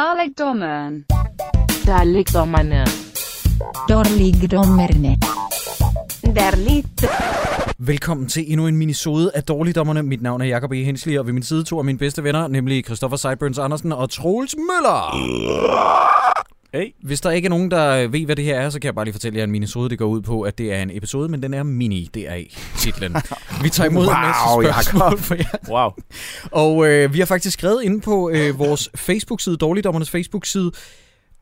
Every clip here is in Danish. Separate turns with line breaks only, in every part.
Dalekdommeren.
Der ligger dommerne.
Dårligdommerne.
Velkommen til endnu en minisode af Dårligdommerne. Mit navn er Jakob E. Hensli, og ved min side to af mine bedste venner, nemlig Christoffer Seiburns Andersen og Troels Møller. Hey. Hvis der ikke er nogen, der ved, hvad det her er, så kan jeg bare lige fortælle jer, at en minisode det går ud på, at det er en episode, men den er mini, det er i titlen. Vi tager imod en
Wow,
masse spørgsmål for jer.
Wow.
Og øh, vi har faktisk skrevet ind på øh, vores Facebook-side, Dårligdommernes Facebook-side,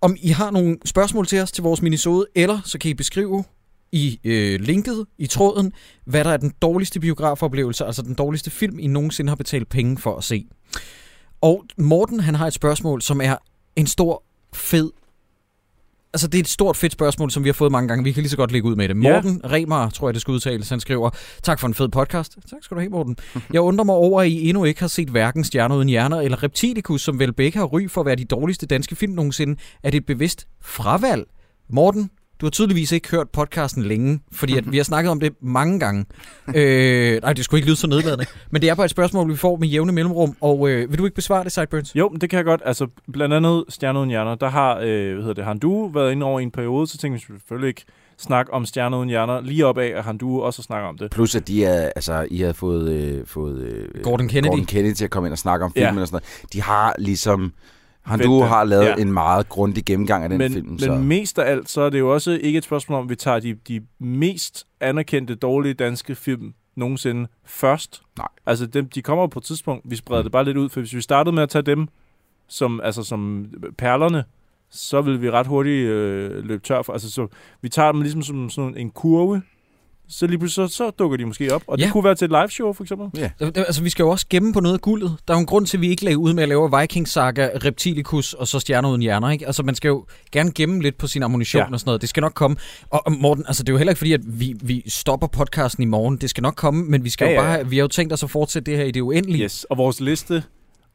om I har nogle spørgsmål til os til vores minisode, eller så kan I beskrive i øh, linket, i tråden, hvad der er den dårligste biografoplevelse, altså den dårligste film, I nogensinde har betalt penge for at se. Og Morten, han har et spørgsmål, som er en stor, fed... Altså, det er et stort, fedt spørgsmål, som vi har fået mange gange. Vi kan lige så godt lægge ud med det.
Ja.
Morten Remar, tror jeg, det skal udtales, han skriver, tak for en fed podcast. Tak skal du have, Morten. Jeg undrer mig over, at I endnu ikke har set hverken Stjerner uden hjerner eller Reptilicus, som vel begge har ry for at være de dårligste danske film nogensinde. Er det et bevidst fravalg? Morten, du har tydeligvis ikke hørt podcasten længe, fordi at vi har snakket om det mange gange. øh, nej, det skulle ikke lyde så nedladende. Men det er bare et spørgsmål, vi får med jævne mellemrum, og øh, vil du ikke besvare det, Sideburns?
Jo, men det kan jeg godt. Altså, blandt andet Stjerne uden hjerner, der har, øh, hvad hedder det, Handu været inde over i en periode, så tænkte vi selvfølgelig ikke snakke om Stjerne uden hjerner lige op af, at Handu også snakker om det.
Plus at de er, altså, I havde fået, øh, fået øh,
Gordon Kennedy.
Gordon Kennedy til at komme ind og snakke om
Ja.
filmen og sådan noget. De har ligesom... Han
Vendt
du
den.
har lavet
Ja.
ja. en meget grundig gennemgang af den
men,
film,
men
så...
mest af alt, så er det jo også ikke et spørgsmål om, at vi tager de, de mest anerkendte dårlige danske film nogensinde først.
Nej. Mm.
Altså, dem, de kommer jo på et tidspunkt. Vi spreder det bare lidt ud, for hvis vi startede med at tage dem som, altså, som perlerne, så vil vi ret hurtigt øh, løbe tør for. Altså, så vi tager dem ligesom som sådan en kurve, så lige pludselig så, så dukker de måske op. Og ja.
Ja.
det kunne være til et live show, for eksempel.
Altså, vi skal jo også gemme på noget af guldet. Der er jo en grund til, at vi ikke lagde ud med at lave Viking Saga, Reptilicus og så Stjerner Uden Hjerner, ikke? Altså, man skal jo gerne gemme lidt på sin ammunition
Ja.
ja. og sådan noget. Det skal nok komme. Og og Morten, altså, det er jo heller ikke fordi, at vi, vi stopper podcasten i morgen. Det skal nok komme, men vi skal
Ja,
ja, jo
ja,
bare,
ja.
vi har jo tænkt os at fortsætte det her i det uendelige.
Yes. Og vores liste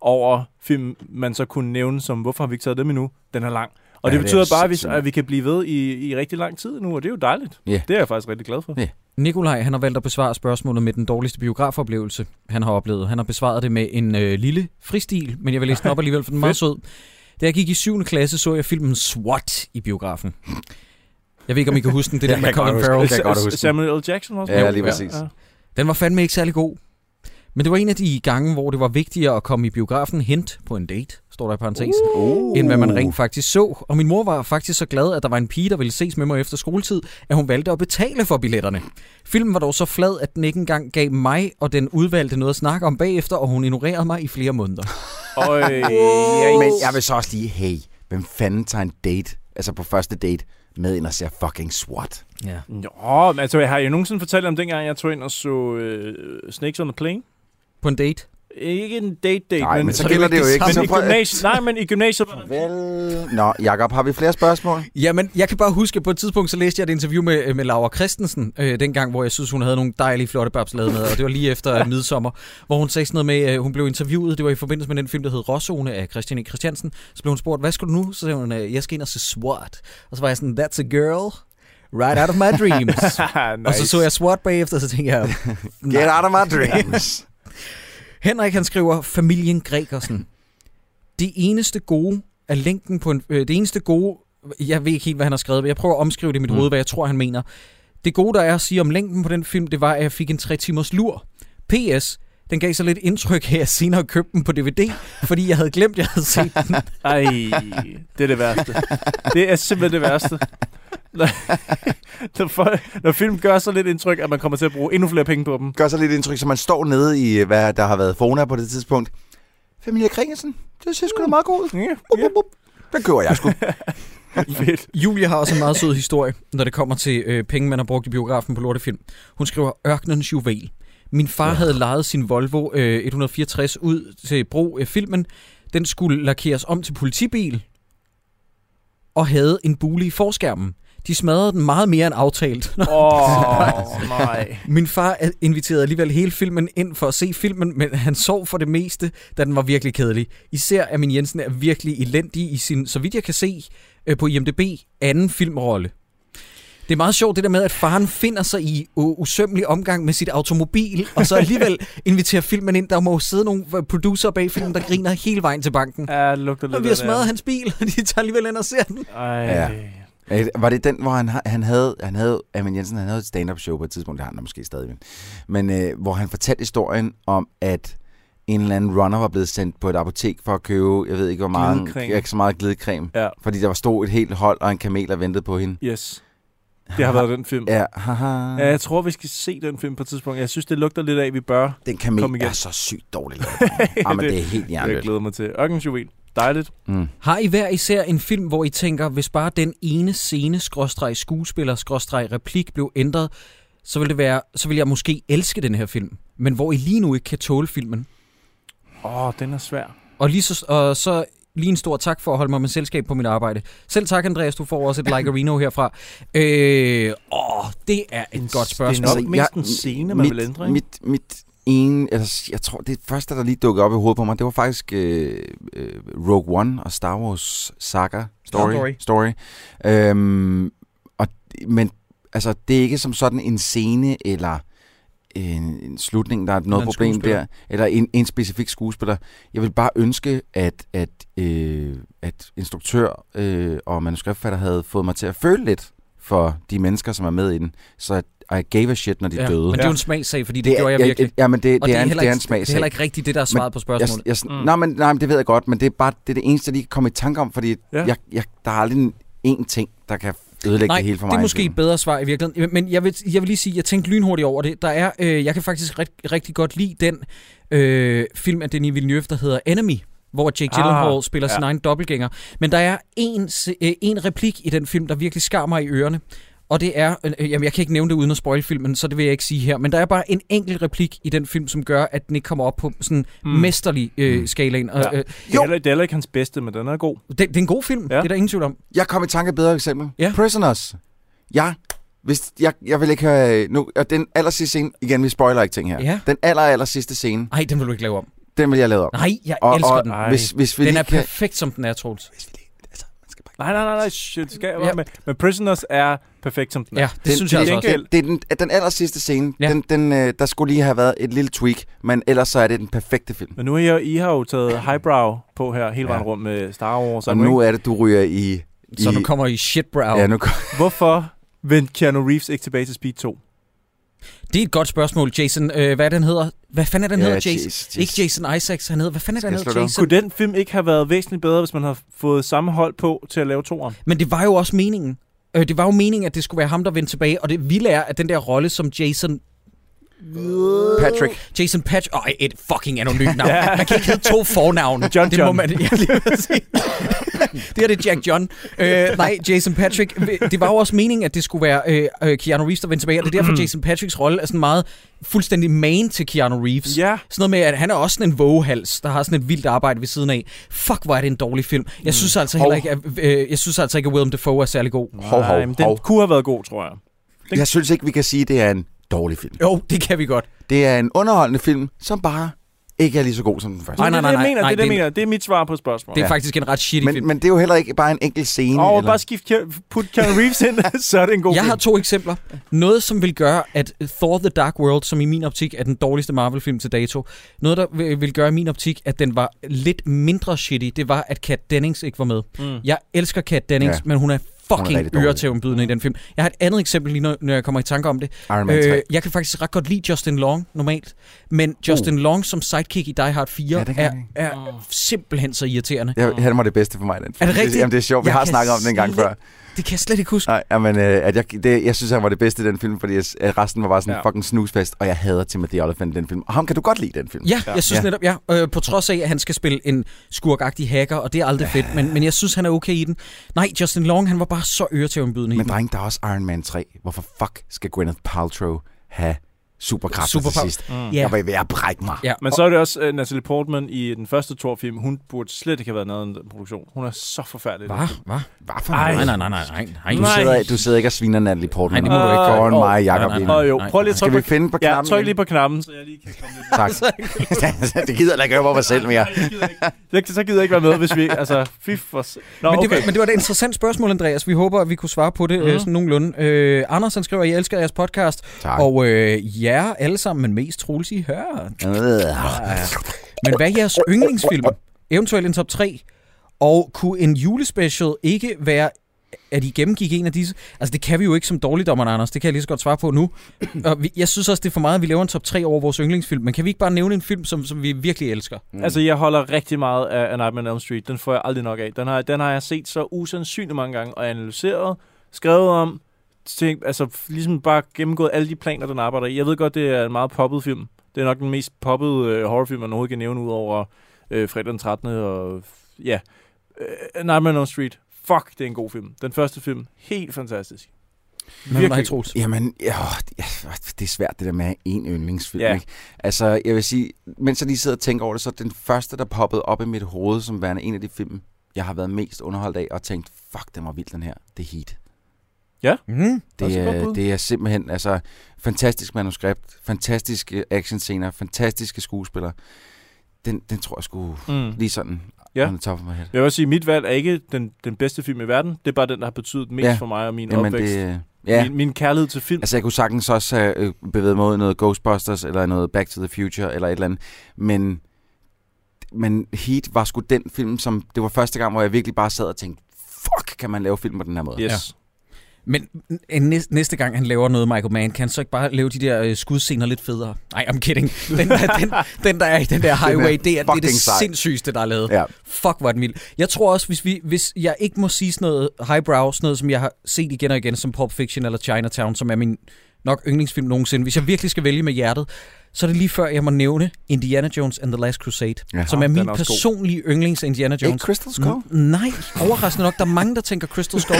over film, man så kunne nævne som, hvorfor har vi ikke taget dem endnu, den er lang. Og ja,
Ja,
det
det er
betyder bare, at vi,
sindssygt.
at vi kan blive ved i, i rigtig lang tid nu, og det er jo dejligt.
Ja.
Det er jeg faktisk rigtig glad for.
Ja.
Nikolaj, han har valgt at besvare spørgsmålet med den dårligste biografoplevelse, han har oplevet. Han har besvaret det med en øh, lille fristil, men jeg vil læse den op alligevel, for den er meget sød. Da jeg gik i 7. klasse, så jeg filmen SWAT i biografen. Jeg ved ikke, om I kan huske den. Det er
Jeg
den med
kan godt
Colin Farrell.
huske det. kan jeg godt
S-
huske.
Samuel L. Jackson også.
Ja,
Jo,
lige præcis.
Den var fandme ikke særlig god. Men det var en af de gange, hvor det var vigtigere at komme i biografen hent på en date, står der i parentes, uh. end hvad man rent faktisk så. Og min mor var faktisk så glad, at der var en pige, der ville ses med mig efter skoletid, at hun valgte at betale for billetterne. Filmen var dog så flad, at den ikke engang gav mig og den udvalgte noget at snakke om bagefter, og hun ignorerede mig i flere måneder.
Og, øh,
Men jeg vil så også lige, hey, hvem fanden tager en date, altså på første date, med ind og ser fucking SWAT?
Ja.
Nå, men altså, har jeg nogensinde fortalt om dengang, jeg tog ind og så øh, Snakes on the Plane?
På en date.
Ikke en date-date,
Nej,
men,
men så
det er
gælder
jo
det jo
ikke
ikke.
det
men
Så
i
prøv-
gymnasiet, nej, men i gymnasiet var der
Vel... Nå, Jakob, har vi flere spørgsmål?
Jamen, jeg kan bare huske, at på et tidspunkt, så læste jeg et interview med, med Laura Christensen, øh, dengang, hvor jeg synes, hun havde nogle dejlige flotte babslade med, og det var lige efter øh, midsommer, hvor hun sagde sådan noget med, øh, hun blev interviewet, det var i forbindelse med den film, der hed Råzone af Christian E. Christiansen, så blev hun spurgt, hvad skal du nu? Så sagde hun, øh, jeg skal ind og se SWAT. Og så var jeg sådan, that's a girl, right out of my dreams.
nice.
Og så så jeg SWAT bagefter, og så tænkte jeg,
Get out of my dreams.
Henrik han skriver familien Gregersen. Det eneste gode er længden på en øh, det eneste gode jeg ved ikke helt hvad han har skrevet, men jeg prøver at omskrive det i mit mm. hoved, hvad jeg tror han mener. Det gode der er at sige om længden på den film, det var at jeg fik en 3 timers lur. PS den gav så lidt indtryk af, at jeg senere købte den på DVD, fordi jeg havde glemt, at jeg havde set den.
Ej, det er det værste. Det er simpelthen det værste. Når, når, folk, når film gør så lidt indtryk, at man kommer til at bruge endnu flere penge på dem.
Gør så lidt indtryk, så man står nede i, øh, hvad der har været Fona på det tidspunkt. Familie Kringelsen, det ser sgu da meget godt ud.
Mm. Ja,
Up, up, up. Den køber jeg sgu.
fedt.
Julie har også en meget sød historie, når det kommer til øh, penge, man har brugt i biografen på lortefilm. Hun skriver Ørkenens juvel. Min far ja. havde lejet sin Volvo øh, 164 ud til brug af filmen. Den skulle lakeres om til politibil og havde en bule i forskærmen. De smadrede den meget mere end aftalt. Nå,
Åh, oh, nej.
Min far øh, inviterede alligevel hele filmen ind for at se filmen, men han sov for det meste, da den var virkelig kedelig. Især at min Jensen er virkelig elendig i sin, så vidt jeg kan se øh, på IMDb, anden filmrolle. Det er meget sjovt det der med, at faren finder sig i u- usømmelig omgang med sit automobil, og så alligevel inviterer filmen ind. Der må jo sidde nogle øh, producer bag filmen, der griner hele vejen til banken.
Ja, det lugter lidt
Og vi har
af det.
smadret hans bil, og de tager alligevel ind og ser den.
Ej.
Ja. Øh, Var det den, hvor han, har- han havde, han havde, Amin Jensen, han havde et stand-up show på et tidspunkt, det har han da måske stadig, men øh, hvor han fortalte historien om, at en eller anden runner var blevet sendt på et apotek for at købe, jeg ved ikke hvor meget,
Glidecreme.
ikke så meget glidecreme,
Ja.
fordi der var stod et helt hold og en kamel der ventede på hende.
Yes. Det har været den film.
Ja, haha.
Ja, jeg tror, vi skal se den film på et tidspunkt. Jeg synes, det lugter lidt af, at vi bør.
Den
Kom
kamel
igen.
er så sygt dårlig lavet. Jamen, det er helt
jeg
jernløst.
glæder mig til. Ørkens Juvel. Dejligt.
Mm.
Har I hver især en film, hvor I tænker, hvis bare den ene scene, skråstreg skuespiller, skråstreg replik blev ændret, så ville, det være, så ville jeg måske elske den her film, men hvor I lige nu ikke kan tåle filmen?
Åh, oh, den er svær.
Og, lige så, og så lige en stor tak for at holde mig med selskab på mit arbejde. Selv tak, Andreas. Du får også et like Reno herfra. Øh, åh, det er et
En
godt
s-
spørgsmål.
det er nok- mest en scene, man
mit,
vil ændre, ikke?
Mit, mit ene, altså, jeg tror, det første, der lige dukkede op i hovedet på mig, det var faktisk øh, øh, Rogue One og Star Wars saga story.
Story.
story. Øhm, og, men altså, det er ikke som sådan en scene eller en, en slutning, der er noget
en
problem
skuespiller.
der, eller en, en specifik skuespiller. Jeg vil bare ønske, at, at, øh, at instruktør øh, og manuskriptfatter havde fået mig til at føle lidt for de mennesker, som er med i den, så at I gave a shit, når de
ja,
døde.
Men det er jo en smagssag, fordi det, det gjorde jeg virkelig.
Ja, men det,
Og
det, er, en,
heller
det
ikke-
er en
Det er
smagsag.
heller ikke rigtigt det, der er
Men
svaret på
Jeg,
spørgsmålet.
jeg,
Mm.
nej, men, nej, men det ved jeg godt, men det er bare det, er det eneste, jeg lige kan komme i tanke om, fordi
Ja.
ja. jeg, jeg, der er aldrig én ting, der kan ødelægge
Nej,
det hele for mig.
det er måske et bedre svar i virkeligheden. Men jeg vil, jeg vil lige sige, jeg tænkte lynhurtigt over det. Der er, øh, jeg kan faktisk ret, rigtig godt lide den øh, film af Denis Villeneuve, der hedder Enemy, hvor Jake
Ah,
Gyllenhaal spiller
ja.
sin egen dobbeltgænger. Men der er en, se- øh, en replik i den film, der virkelig skar mig i ørerne. Og det er, øh, jamen jeg kan ikke nævne det uden at spoil filmen, så det vil jeg ikke sige her, men der er bare en enkelt replik i den film, som gør, at den ikke kommer op på sådan mm.
Hmm.
mesterlig øh, skalaen. Og,
Ja.
øh,
Hmm. Det er, heller, det er heller ikke hans bedste, men den er god.
det, det er en god film, ja.
Ja.
det er der ingen tvivl om.
Jeg kom i tanke et bedre eksempel.
Ja.
Prisoners. Jeg, hvis, jeg, jeg vil ikke have... Nu, og den aller sidste scene, igen, vi spoiler ikke ting her.
Ja.
Den aller, aller sidste scene,
Nej, den vil du ikke lave om.
den vil jeg lave op.
Nej, jeg
og,
elsker
og,
den.
Ej.
Hvis, hvis vi
Den
lige
er
kan,
perfekt, som den er, Troels.
altså,
Nej, nej, nej, nej. Shit, skal jeg
Ja.
ja. med. Men Prisoners er perfekt, som den er.
Ja, det den, synes jeg
den-
altså
den-
også.
Det, det er den, den aller sidste scene.
Ja.
Ja. Den, den, øh, der skulle lige have været et lille tweak, men ellers så er det den perfekte film.
Men nu er jeg, I har jo taget highbrow på her hele vejen rundt med Star Wars.
Så nu
ikke?
er det, du ryger i... i
Så du kommer i shitbrow.
Ja,
Ja,
nu kom,
Hvorfor vendte Keanu Reeves ikke tilbage til Speed 2?
det er et godt spørgsmål, Jason. Øh, hvad er den hedder? Hvad fanden er den
Ja,
hedder, Jason?
Jesus, Jesus.
Ikke Jason Isaacs, han hedder. Hvad fanden er
Skal
den
jeg slå
hedder,
det op?
Jason?
Kunne den film ikke have været væsentligt bedre, hvis man havde fået samme hold på til at lave toeren?
Men det var jo også meningen. Øh, det var jo meningen, at det skulle være ham, der vendte tilbage. Og det vilde er, at den der rolle som Jason...
Patrick.
Jason Patch... Åh, oh, et fucking anonymt navn. Man kan ikke have to fornavne.
John
det
John.
Må man, ja, lige præcis. det her det er Jack John. Øh, nej, Jason Patrick. Det var jo også meningen, at det skulle være øh, øh, Keanu Reeves, der vendte tilbage. Og det er
Mm.
derfor, Jason Patricks rolle er sådan meget fuldstændig man til Keanu Reeves.
Ja.
Sådan noget med, at han er også sådan en vågehals, der har sådan et vildt arbejde ved siden af. Fuck, hvor er det en dårlig film.
Mm.
Jeg synes altså heller
Hov.
ikke, at, øh, jeg synes altså ikke, at Willem Dafoe er særlig god.
Hov, hov,
Nej, men den
hov.
kunne have været god, tror jeg.
Jeg synes ikke, vi kan sige, at det er en dårlig film.
Jo, det kan vi godt.
Det er en underholdende film, som bare ikke er lige så god som den første.
Nej,
Men det er det, jeg mener,
nej,
det, er det, jeg
det er-
mener. det er mit svar på spørgsmålet.
Det er
Ja.
faktisk en ret shitty film.
Men, men det er jo heller ikke bare en enkelt scene.
Og
eller-
bare skift, Ke- put Keanu Reeves ind, så er det en god
Jeg
film.
har to eksempler. Noget, som vil gøre, at Thor The Dark World, som i min optik er den dårligste Marvel-film til dato, noget, der vil vil gøre i min optik, at den var lidt mindre shitty, det var, at Kat Dennings ikke var med. Mm. Jeg elsker Kat Dennings, ja.
Ja.
men hun er
Hun er
fucking
rigtig dårlig.
øretævnbydende i den film. Jeg har et andet eksempel lige, når, når jeg kommer i tanke om det. Øh,
Iron Man 3.
jeg kan faktisk ret godt lide Justin Long normalt, men Justin uh. Long som sidekick i Die Hard 4
Ja, det kan
er,
jeg ikke.
er simpelthen så irriterende.
Jeg, han var det bedste for mig, den
Er
film.
det rigtigt?
Jamen, det er sjovt. Vi
Jeg
har
kan
snakket om den en gang
slet-
før.
Det kan jeg slet ikke huske.
Nej, jamen, øh, at jeg, det, jeg synes, han var det bedste i den film, fordi jeg, at resten var bare sådan en
Ja.
fucking snusfest, og jeg hader Timothy Olyphant i den film. Og ham kan du godt lide i den film.
Ja, jeg synes ja.
Ja.
netop, ja. Øh, på trods af, at han skal spille en skurkagtig hacker, og det er aldrig fedt, men, men jeg synes, han er okay i den. Nej, Justin Long, han var bare så øretævnbydende i
Men
den.
dreng, der er også Iron Man 3. Hvorfor fuck skal Gwyneth Paltrow have superkræfter
Superpower.
til sidst.
Mm.
Ja.
Jeg var ved at brække mig.
Ja,
Men så er det også uh, Natalie Portman i den første Thor-film. Hun burde slet ikke have været noget i den produktion. Hun er så forfærdelig. i den
Hvad?
film.
Hvad?
Hvad for
Ej.
noget?
Nej, nej, nej, nej, nej. nej.
Du
Nej.
sidder, du sidder ikke og sviner Natalie Portman.
Nej, det må
du ikke.
Foran
Åh,
mig og Jacob.
nej, nej,
ind.
nej.
Åh jo, prøv lige at
Skal
trykke
vi
på,
finde på
ja,
knappen?
tryk lige på knappen, så jeg lige kan komme lidt.
Tak. det gider jeg ikke høre på mig selv mere.
Jeg, så gider jeg ikke være med, hvis vi... Altså, fy for... s- Nå,
Men, det,
okay.
var- men det var da et interessant spørgsmål, Andreas. Vi håber, at vi kunne svare på det mm.
Mhm.
sådan nogenlunde. Øh, Anders, han skriver, at I elsker jeres podcast.
Tak.
Og øh, jer alle sammen, men mest Troels, I hører.
Øh.
Men hvad er jeres yndlingsfilm? Eventuelt en top 3? Og kunne en julespecial ikke være at I gennemgik en af disse? Altså, det kan vi jo ikke som dårligdommerne, Anders. Det kan jeg lige så godt svare på nu. Og vi, jeg synes også, det er for meget, at vi laver en top 3 over vores yndlingsfilm. Men kan vi ikke bare nævne en film, som, som vi virkelig elsker?
Altså, jeg holder rigtig meget af A Nightmare on Elm Street. Den får jeg aldrig nok af. Den har, den har jeg set så usandsynligt mange gange, og analyseret, skrevet om, tænkt, altså f- ligesom bare gennemgået alle de planer, den arbejder i. Jeg ved godt, det er en meget poppet film. Det er nok den mest poppede øh, horrorfilm, man overhovedet kan nævne, udover øh, fredag den 13. og f- ja. Øh, A Nightmare on Elm Street. Fuck, det er en god film. Den første film, helt fantastisk.
Virkelig. Nej, Troels.
Jamen, ja, ja, det er svært det der med at have en yndlingsfilm.
Ja.
Ikke? Altså, jeg vil sige, mens jeg lige sidder og tænker over det, så er den første, der poppede op i mit hoved som værende en af de film, jeg har været mest underholdt af, og tænkt, fuck, den var vild den her. Det er Heat.
Mm.
Det
Også et godt
er,
bud.
det er simpelthen, altså, fantastisk manuskript, fantastiske actionscener, fantastiske skuespillere. Den, den tror jeg skulle
Mm.
lige sådan,
Ja.
on the top of my head.
Jeg vil også sige, at mit valg er ikke den, den bedste film i verden. Det er bare den, der har betydet mest
Ja.
ja. for mig og min
Jamen,
opvækst.
det, øh,
Ja.
ja.
Min, min kærlighed til film.
Altså, jeg kunne sagtens også have øh, bevæget mig ud i noget Ghostbusters, eller noget Back to the Future, eller et eller andet. Men, men Heat var sgu den film, som... Det var første gang, hvor jeg virkelig bare sad og tænkte, fuck, kan man lave film på den her måde?
Yes.
Men øh, næste, næste gang, han laver noget Michael Mann, kan han så ikke bare lave de der øh, skudscener lidt federe? Nej, I'm kidding. Den der, den, den der er i den der highway, det er det, er det
fucking sej.
sindssygeste, der er lavet.
Ja.
Fuck, hvor er den vild. Jeg tror også, hvis, vi, hvis jeg ikke må sige sådan noget highbrow, sådan noget, som jeg har set igen og igen, som Pulp Fiction eller Chinatown, som er min nok yndlingsfilm nogensinde. Hvis jeg virkelig skal vælge med hjertet, så er det lige før, jeg må nævne Indiana Jones and the Last Crusade,
Ja.
som er
den
min
er også god.
personlige yndlings Indiana Jones. Mm.
Ikke Crystal Skull?
N- nej, overraskende nok. Der er mange, der tænker Crystal Skull.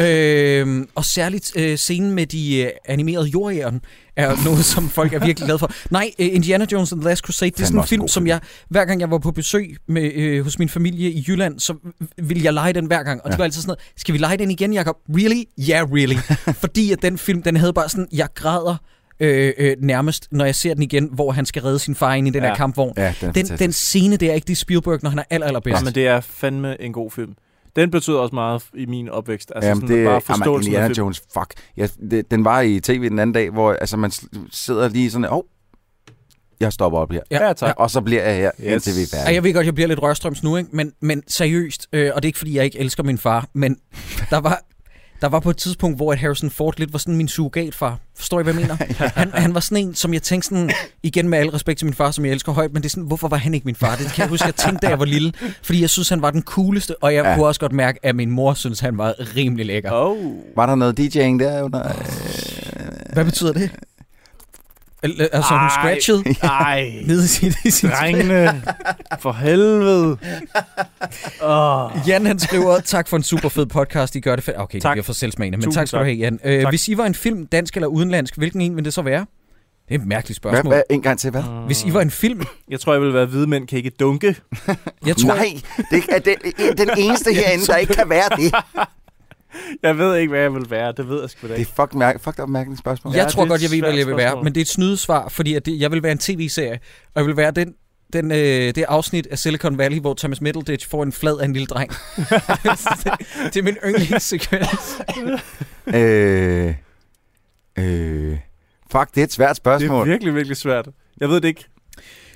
øhm, og særligt øh, scenen med de øh, animerede jordjæren er noget, som folk er virkelig glade for. Nej, øh, Indiana Jones and the Last Crusade, det er sådan en
Fandme også en
film,
god
som
film.
jeg, hver gang jeg var på besøg med, øh, hos min familie i Jylland, så ville jeg lege den hver gang. Og ja. det
Ja.
var altid sådan noget, skal vi lege den igen, Jacob? Really? Yeah, really. Fordi at den film, den havde bare sådan, jeg græder øh, øh, nærmest, når jeg ser den igen, hvor han skal redde sin far ind i den ja.
Ja.
der kampvogn.
Ja, den er
Den,
fantastisk.
den scene der, ikke det er Spielberg, når han er aller, allerbedst.
Ja, men det er fandme en god film. Den betød også meget i min opvækst. Altså
Jamen,
sådan,
det,
bare
jamen,
forståelsen
Indiana
af film.
Jones, fuck. Ja, det, den var i tv den anden dag, hvor altså, man s- sidder lige sådan, åh, oh, jeg stopper op her.
Ja, tak.
Og så bliver jeg her, yes. indtil vi er
Ej,
færdige.
jeg ved godt, jeg bliver lidt rørstrøms nu, ikke? Men, men seriøst, øh, og det er ikke, fordi jeg ikke elsker min far, men der var, der var på et tidspunkt, hvor at Harrison Ford lidt var sådan min surrogatfar. Forstår I, hvad jeg mener? han, han var sådan en, som jeg tænkte sådan, igen med al respekt til min far, som jeg elsker højt, men det er sådan, hvorfor var han ikke min far? Det kan jeg huske, jeg tænkte, da jeg var lille, fordi jeg synes, han var den cooleste, og jeg ja.
Ja.
kunne også godt mærke, at min mor synes, han var rimelig lækker.
Oh.
Var der noget DJ'ing der under? øh,
Hvad betyder det? Al- Altså, hun
Ej.
scratchede
Ej,
nede i sit, i sit
drengene. For helvede. Oh.
Ah. Jan han skriver, tak for en super fed podcast, I gør det fedt. Okay, tak.
Tak.
det bliver for selvsmagende, men
Tusind
tak skal du
tak.
have, Jan. Øh,
Tak.
Hvis I var en film, dansk eller udenlandsk, hvilken en ville det så være? Det er et mærkeligt
Hvad,
spørgsmål.
hvad, en gang til, hvad?
Hvis I var en film,
Jeg tror, jeg ville være hvide mænd kan ikke dunke.
jeg tror...
Nej, det er den, den eneste herinde, der ikke kan være det.
Jeg ved ikke, hvad jeg ville være. Det ved jeg sgu da
Det er
ikke.
fuck mærke, fucked up mærkeligt spørgsmål.
Jeg
Ja,
tror
det er
godt, jeg
et
ved, hvad
svært
jeg vil være,
spørgsmål.
men det er et snydesvar, fordi at det, jeg vil være en tv-serie, og jeg vil være den, den, øh, det afsnit af Silicon Valley, hvor Thomas Middleditch får en flad af en lille dreng. det, det er min yndlingssekvens.
Øh, øh, fuck, det er et svært
Det er
spørgsmål.
virkelig, virkelig svært. Jeg ved det ikke.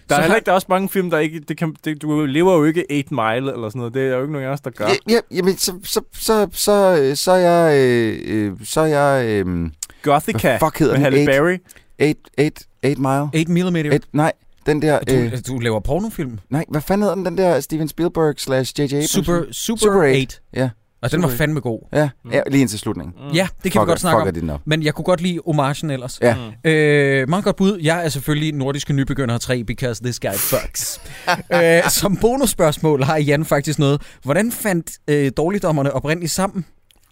Der
Så
er heller
har-
ikke, der er også mange film, der ikke... Det kan, det, du lever jo ikke 8 Mile eller sådan noget. Det er jo ikke nogen af os, der gør.
Ja, ja, jamen, så, så, så, så, øh, så er jeg, øh, øh, så er jeg, øh,
Gothica
hvad fuck hedder
med
den?
Halle
8,
Berry.
8, 8, 8 Mile?
8 mm.
8, nej, den der, øh,
Du, du laver pornofilm.
nej, hvad fanden hedder den, den der Steven Spielberg slash J.J. Abrams?
Super, super,
Super
super 8.
Eight. Ja,
Og den var
Super Eight.
fandme god.
ja,
Mm.
ja, lige indtil slutningen.
Mm.
Ja, det kan vi godt snakke om.
fuck Fuck op.
Men jeg kunne godt lide homagen ellers.
Ja.
Mm.
Øh, meget godt bud. Jeg er selvfølgelig nordiske nybegynder 3, because this guy fucks. øh, som bonusspørgsmål har Jan faktisk noget. Hvordan fandt øh, dårligdommerne oprindeligt sammen?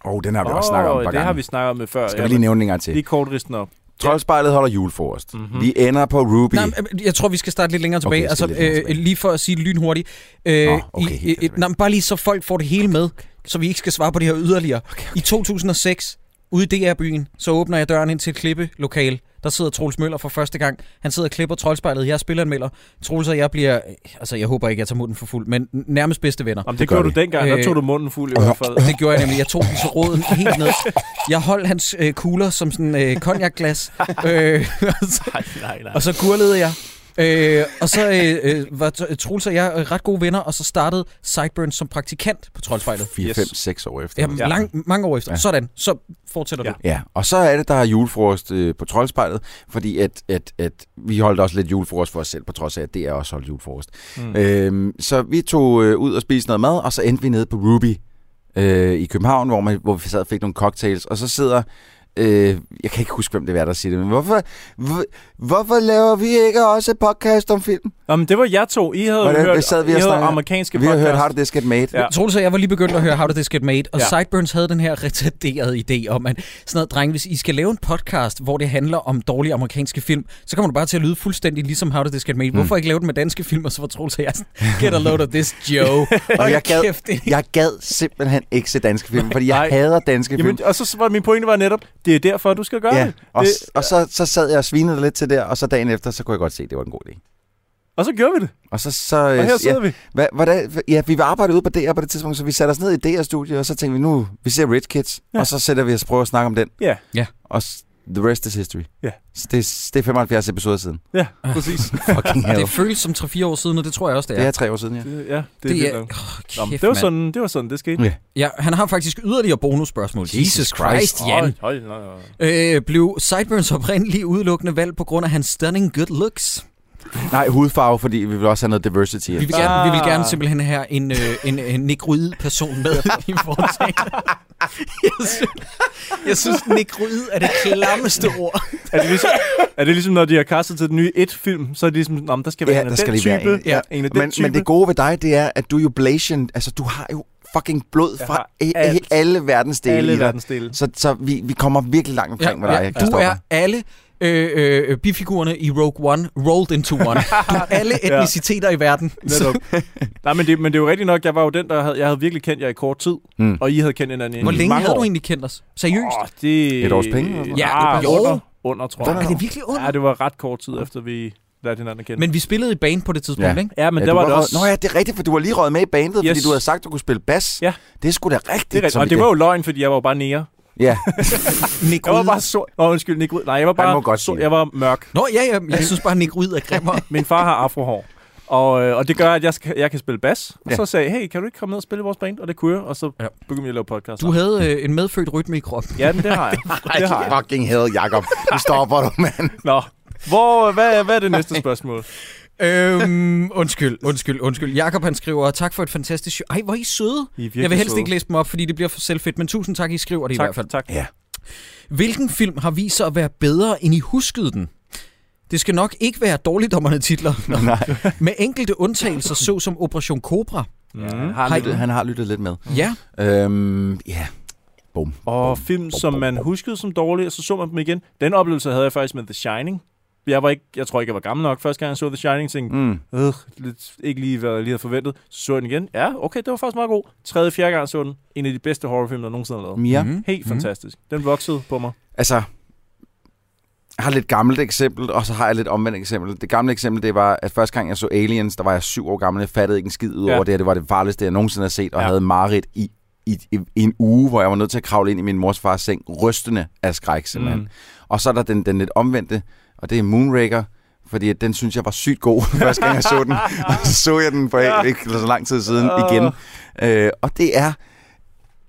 Åh, oh, den har vi også snakket om et par
det har
gange.
vi snakket om før.
Skal vi lige nævne den en gang til?
Lige kort risten op.
Troldspejlet holder jul for os.
Mhm.
Mm-hmm. Vi ender på Ruby.
Nej, men jeg tror, vi skal starte lidt længere tilbage.
Okay,
Okay, altså,
skal lidt længere
øh,
tilbage.
lige for at sige det lynhurtigt. Øh,
Nå, okay, helt
i, i,
tilbage.
nej, men bare lige så folk får det hele med, så vi ikke skal svare på det her yderligere. Okay, okay. I 2006, ude i DR-byen, så åbner jeg døren ind til et klippelokale. Der sidder Troels Møller for første gang. Han sidder og klipper troldspejlet. Jeg er spilleranmelder. Troels og jeg bliver... Altså, jeg håber ikke, jeg tager munden for fuld, men n- nærmest bedste venner.
Jamen,
Det
det, det
gør
gjorde
vi.
du dengang. Der
Øh,
tog du munden fuld i hvert fald.
Det gjorde jeg nemlig. Jeg tog den til råden helt ned. Jeg holdt hans øh, kugler som sådan øh, konjakglas. Øh, og så-
Nej, nej, nej.
og så gurlede jeg. Øh, og så øh, øh, var Tr- Troels og jeg øh, ret gode venner, og så startede Sideburns som praktikant på Troldspejlet.
4,
Yes.
5, 6 år efter.
Jamen,
Ja.
ja. lang, mange år efter.
Ja.
Ja. Sådan, så fortsætter ja.
Ja.
du.
Ja, og så er det, der er julefrokost øh, på Troldspejlet, fordi at, at, at vi holdt også lidt julefrokost for os selv, på trods af, at det er også holdt julefrokost. Mm.
Mm.
Øhm, så vi tog øh, ud og spiste noget mad, og så endte vi nede på Ruby øh, i København, hvor, man, hvor vi sad og fik nogle cocktails, og så sidder... Øh, jeg kan ikke huske, hvem det var, der siger det, men hvorfor, hvor, hvorfor laver vi ikke også et podcast om film?
Jamen, det var jer to. I havde
Hvordan-
Hvordan,
hvad
hørt,
sad vi
I
og
havde
snakkede?
amerikanske
Vi har hørt
podcast.
How Did This Get Made.
Ja.
Ja.
Ja. Troels og jeg var lige begyndt at høre How Did This Get Made, og
Ja.
ja. Sideburns havde den her retarderet idé om, at sådan noget, dreng, hvis I skal lave en podcast, hvor det handler om dårlige amerikanske film, så kommer du bare til at lyde fuldstændig ligesom How Did This Get Made. Hvorfor
Hmm.
ikke lave den med danske film, og så var Troels og jeg sådan, get a load of this, Joe.
Og jeg gad,
Kæft, det-
jeg gad simpelthen ikke se danske film, fordi jeg
Nej.
hader danske film.
Jamen, og så var min pointe var netop, det er derfor, du skal gøre
Ja,
det.
og,
det.
det, og så, så sad jeg og svinede lidt til der, og så dagen efter, så kunne jeg godt se, at det var en god idé.
Og så gjorde vi det.
Og så, så øh,
Og her
ja,
sidder vi.
hva, hvordan, ja, vi var arbejdet ude på DR på det tidspunkt, så vi satte os ned i DR-studiet, og så tænkte vi, nu, vi ser Rich Kids,
Ja.
ja. og så sætter vi os og prøver at snakke om den.
Ja.
Ja.
Og s- the rest is history.
Ja.
Så det, det er 75 episoder siden.
Ja, præcis.
Fucking hell.
Det føles som 3-4 år siden, og det tror jeg også, det
det
er.
er tre år siden, ja.
Det, ja, det,
Det
det,
er-
er, vildt nok.
Kæft,
Nå, men det var
mand.
sådan, det var sådan, det skete.
Ja.
Ja, han har faktisk yderligere bonusspørgsmål.
Jesus Christ,
Jan.
Hold, hold, nej, nej.
Øh, blev Sideburns oprindeligt udelukkende valgt på grund af hans stunning good looks?
Nej, hudfarve, fordi vi vil også have noget diversity.
Vi vil
Ah.
gerne, vi vil gerne simpelthen have en, øh, en, en negroid person med i foretagendet. Jeg synes, jeg synes negroid er det klammeste ord.
Er det, ligesom, er det ligesom, når de har kastet til den nye et-film, så er det ligesom, "Nå, men der skal være
Ja,
en af
der
den
skal lige
type,
være en, ja.
ja. en af den
men,
type.
men det gode ved dig, det er, at du er jo Blasian. Altså, du har jo fucking blod
Jeg
fra
har
he-
alt.
he- alle verdensdele
alle
i dig.
verdens dele.
Så, så vi, vi kommer virkelig langt omkring med dig, ja,
du er alle øh, øh, bifigurerne i Rogue One rolled into one. Du er alle
Ja.
etniciteter i verden.
Netop. Nej, men det, men det er jo rigtigt nok, jeg var jo den, der havde, jeg havde virkelig kendt jer i kort tid,
Mm.
og I havde kendt hinanden i
Hvor længe
mange
havde
år.
du egentlig kendt os? Seriøst?
Åh, det...
Et års penge, eller sådan
Ja,
noget?
ah,
Jo.
under, under, tror
Under.
jeg.
Er det virkelig ondt?
Ja, det var ret kort tid efter, vi lærte hinanden at kende.
Men vi spillede i band på det tidspunkt,
Ja.
ja. ikke?
ja, men
ja,
der
du
var det
røget-
også...
Nå ja, det er rigtigt, for du var lige røget med i bandet, yes. fordi
Yes.
du havde sagt, du kunne spille bas.
Ja.
Det er sgu da rigtigt.
Det er rigtigt,
som
og
i
det var jo løgn, fordi jeg var jo bare nære.
Ja,
Jeg var
Negroid.
bare sort. Nå, undskyld, Nick Ryd. Nej, jeg var
Han må
bare...
godt sige
sort.
det.
Jeg var mørk.
Nå, ja, ja. Jeg synes bare, negroid er grimmere.
Min far har afrohår. Og, øh, og det gør, at jeg, skal, jeg kan spille bas. Og
Ja.
så sagde jeg, hey, kan du ikke komme ned og spille i vores band? Og det kunne jeg, og så
Ja.
begyndte jeg at lave podcast.
Du havde øh, en medfødt rytme i kroppen.
Ja, men det har jeg. det har jeg.
fucking hell, Jacob. Nu stopper du, mand.
Nå. Hvor, hvad, hvad er det næste spørgsmål?
øhm, undskyld, undskyld, undskyld. Jakob han skriver, tak for et fantastisk show. Ej, hvor er I søde.
I er virkelig
Jeg vil helst
søde.
ikke læse dem op, fordi det bliver for selvfedt, men tusind tak, I skriver det i hvert fald.
Tak, tak.
Ja.
Hvilken film har vist sig at være bedre, end I huskede den? Det skal nok ikke være dårligdommerne titler,
Nej,
med enkelte undtagelser, såsom Operation Cobra.
han,
Mm.
har
Hej.
lyttet, han har lyttet lidt med.
Ja,
Øhm, ja. Bum.
Og film, som man huskede som dårlige, og så så man dem igen. Den oplevelse havde jeg faktisk med The Shining. Jeg, var ikke, jeg tror ikke, jeg var gammel nok. Første gang jeg så The Shining, tænkte
Mm.
Øh, lidt, ikke lige, hvad jeg lige havde forventet. Så så jeg den igen. Ja, okay, det var faktisk meget god. Tredje, fjerde gang jeg så den. En af de bedste horrorfilm, der nogensinde har lavet.
Mia.
Mhm.
Helt
Mhm.
fantastisk. Den voksede på mig.
Altså, jeg har lidt gammelt eksempel, og så har jeg lidt omvendt eksempel. Det gamle eksempel, det var, at første gang jeg så Aliens, der var jeg syv år gammel, jeg fattede ikke en skid ud
Ja.
over det her. Det var det farligste, jeg nogensinde har set, og
Ja.
havde mareridt i, i, i, en uge, hvor jeg var nødt til at kravle ind i min mors fars seng, rystende af skræk simpelthen. Mm.
Mm.
Og så er der den, den lidt omvendte, og det er Moonraker, fordi at den synes jeg var sygt god, første gang jeg så den. Og så så jeg den for
Ja.
ikke så lang tid siden
Åh.
igen. Øh, og det er,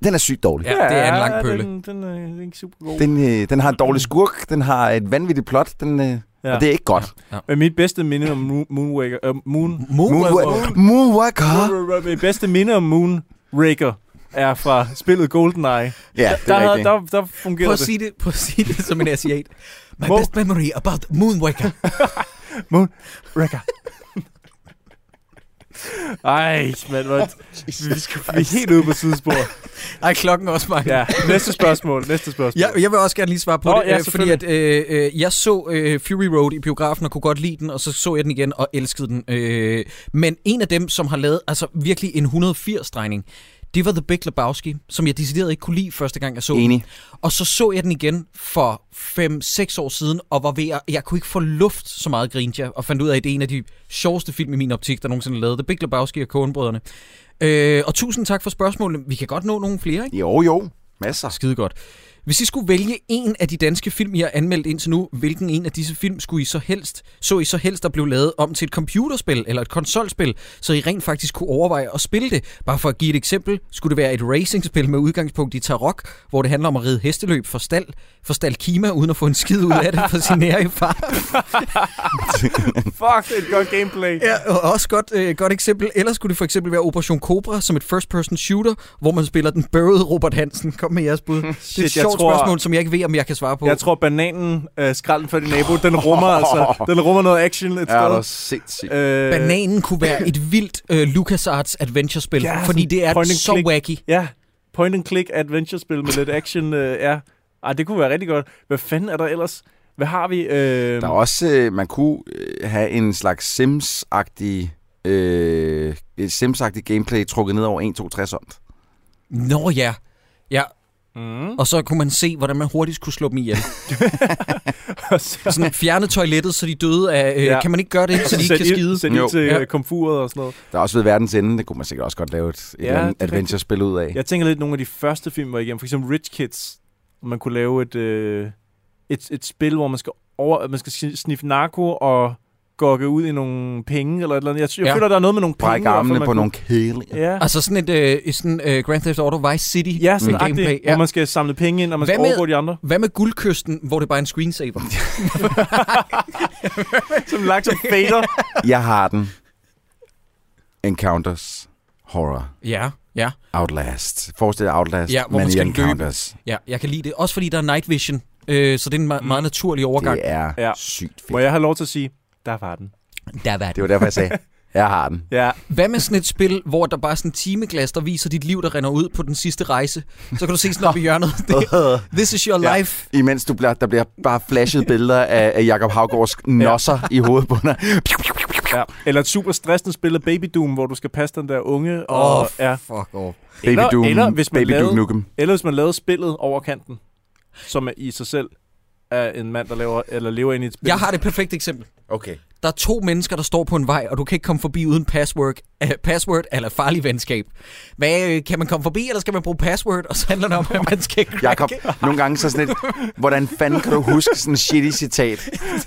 den er sygt dårlig.
Ja, det er en lang pølle.
Den, den, er, den er ikke super god.
Den, øh, den har en dårlig skurk, den har et vanvittigt plot, den, øh, ja.
Mm. Ja.
og det er ikke godt.
Men mit bedste minde om Moon, Moonwaker... Øh, moon...
Moonwa- Moonwalker!
Mit bedste minde om Moonraker er fra spillet GoldenEye.
Ja, det
Der,
er
havde-
rigtigt.
der, der
Prøv
fungerede
at
det.
sige det, prøv at sige det som en asiat. My
Mo-
best memory about Moonwaker.
Moonraker. Ej, mand, hvor... vi, skal, vi er helt ude på sidespor.
Ej, klokken er også mange.
Ja, næste spørgsmål, næste spørgsmål.
Jeg, jeg vil også gerne lige svare på
Nå,
det,
ja,
øh, fordi at, øh, øh, jeg så øh, Fury Road i biografen og kunne godt lide den, og så så jeg den igen og elskede den. Øh, men en af dem, som har lavet altså virkelig en 180-drejning, det var The Big Lebowski, som jeg decideret ikke kunne lide første gang, jeg så den.
Enig.
Og så så jeg den igen for 5-6 år siden, og var ved at, jeg kunne ikke få luft så meget, grinte jeg, og fandt ud af, at det er en af de sjoveste film i min optik, der nogensinde er lavet. The Big Lebowski og Coen-brødrene. Øh, og tusind tak for spørgsmålene. Vi kan godt nå nogle flere, ikke?
Jo, jo. Masser.
Ah, Skide godt. Hvis I skulle vælge en af de danske film, I har anmeldt indtil nu, hvilken en af disse film skulle I så helst, så I så helst der blev lavet om til et computerspil eller et konsolspil, så I rent faktisk kunne overveje at spille det? Bare for at give et eksempel, skulle det være et racingspil med udgangspunkt i Tarok, hvor det handler om at ride hesteløb for stald, for stald Kima, uden at få en skid ud af det for sin nære far.
Fuck, det er et godt gameplay.
Ja, og også godt, øh, godt eksempel. Ellers skulle det for eksempel være Operation Cobra som et first-person shooter, hvor man spiller den bøvede Robert Hansen. Kom med jeres bud. Det er et
jeg
sjovt
tror-
spørgsmål, som jeg ikke ved, om jeg kan svare på.
Jeg tror, bananen, øh, skralden fra din nabo, den rummer altså, den rummer noget action et
Ja, det er
sted.
sindssygt.
Øh,
Bananen kunne være et vildt øh, LucasArts adventure-spil,
Ja,
ja, fordi
sådan
det er
point and
så
click.
wacky.
Ja, point and click adventure-spil med lidt action, øh, ja. Ej, det kunne være rigtig godt. Hvad fanden er der ellers? Hvad har vi? Øh,
Der er også, øh, man kunne øh, have en slags Sims-agtig, øh, et Sims-agtig gameplay trukket ned over 1, 2, 3 sånt.
Nå ja. Ja,
mm.
og så kunne man se, hvordan man hurtigst kunne slå dem ihjel.
Og så-
Sådan fjerne toilettet, så de døde af... Øh,
Ja.
ja. Kan man ikke gøre det, så de ikke kan
Sæt ild-
skide?
Sæt ild
Jo.
til
Ja.
øh, komfuret og sådan noget.
Der er også ved verdens ende, det kunne man sikkert også godt lave et, et
Ja,
eller
det er
andet
rigtigt.
adventure-spil ud af.
Jeg tænker lidt, nogle af de første film var igennem. For eksempel Rich Kids. hvor Man kunne lave et, øh, et, et spil, hvor man skal, over, man skal sni- sniffe narko og gokke ud i nogle penge eller et eller andet. Jeg, sy- jeg
Ja.
føler, der er noget med nogle penge.
Bræk
i hvert fald,
armene på
man kunne-
nogle kæle.
Ja.
Altså sådan et øh, sådan, øh, Grand Theft Auto Vice City
Ja, sådan
med gameplay.
agtigt, ja. hvor man skal samle penge ind, og man
Hvad
skal
med-
overgå de andre.
Hvad med guldkysten, hvor det bare er en screensaver?
Som lagt som fader.
Jeg har den. Encounters. Horror.
ja, ja.
Outlast. Forestil dig Outlast,
Ja, hvor man
men i
skal løbe.
Encounters.
Ja, jeg kan lide det. Også fordi der er night vision, øh, så det er en me-
Mm.
meget naturlig overgang.
Det er
Ja.
ja. sygt fedt.
Må jeg have lov til at sige, der var den.
Der var
Det var derfor, jeg sagde, jeg har den.
Ja,
Hvad med sådan et spil, hvor der bare er sådan en timeglas, der viser dit liv, der render ud på den sidste rejse? Så kan du se sådan op i hjørnet. Det, this is your
Ja.
life.
Imens du bliver, der bliver bare flashet billeder af, af Jacob Havgårds nosser i hovedet på dig.
ja. Eller et super stressende spil af Baby Doom, hvor du skal passe den der unge.
Åh,
Og,
oh,
ja.
fuck off.
Baby
Eller-
Doom,
eller hvis man
Baby
lavede-
Doom Nukem.
Eller hvis man lavede spillet over kanten, som er i sig selv er en mand, der laver, eller lever ind i et spil.
Jeg har det perfekte eksempel.
Okay.
Der er to mennesker, der står på en vej, og du kan ikke komme forbi uden password, uh, password eller farlig venskab. Hvad, øh, kan man komme forbi, eller skal man bruge password? Og så handler det om, at man skal crack.
Jakob, nogle gange så sådan et, hvordan fanden kan du huske sådan en shitty citat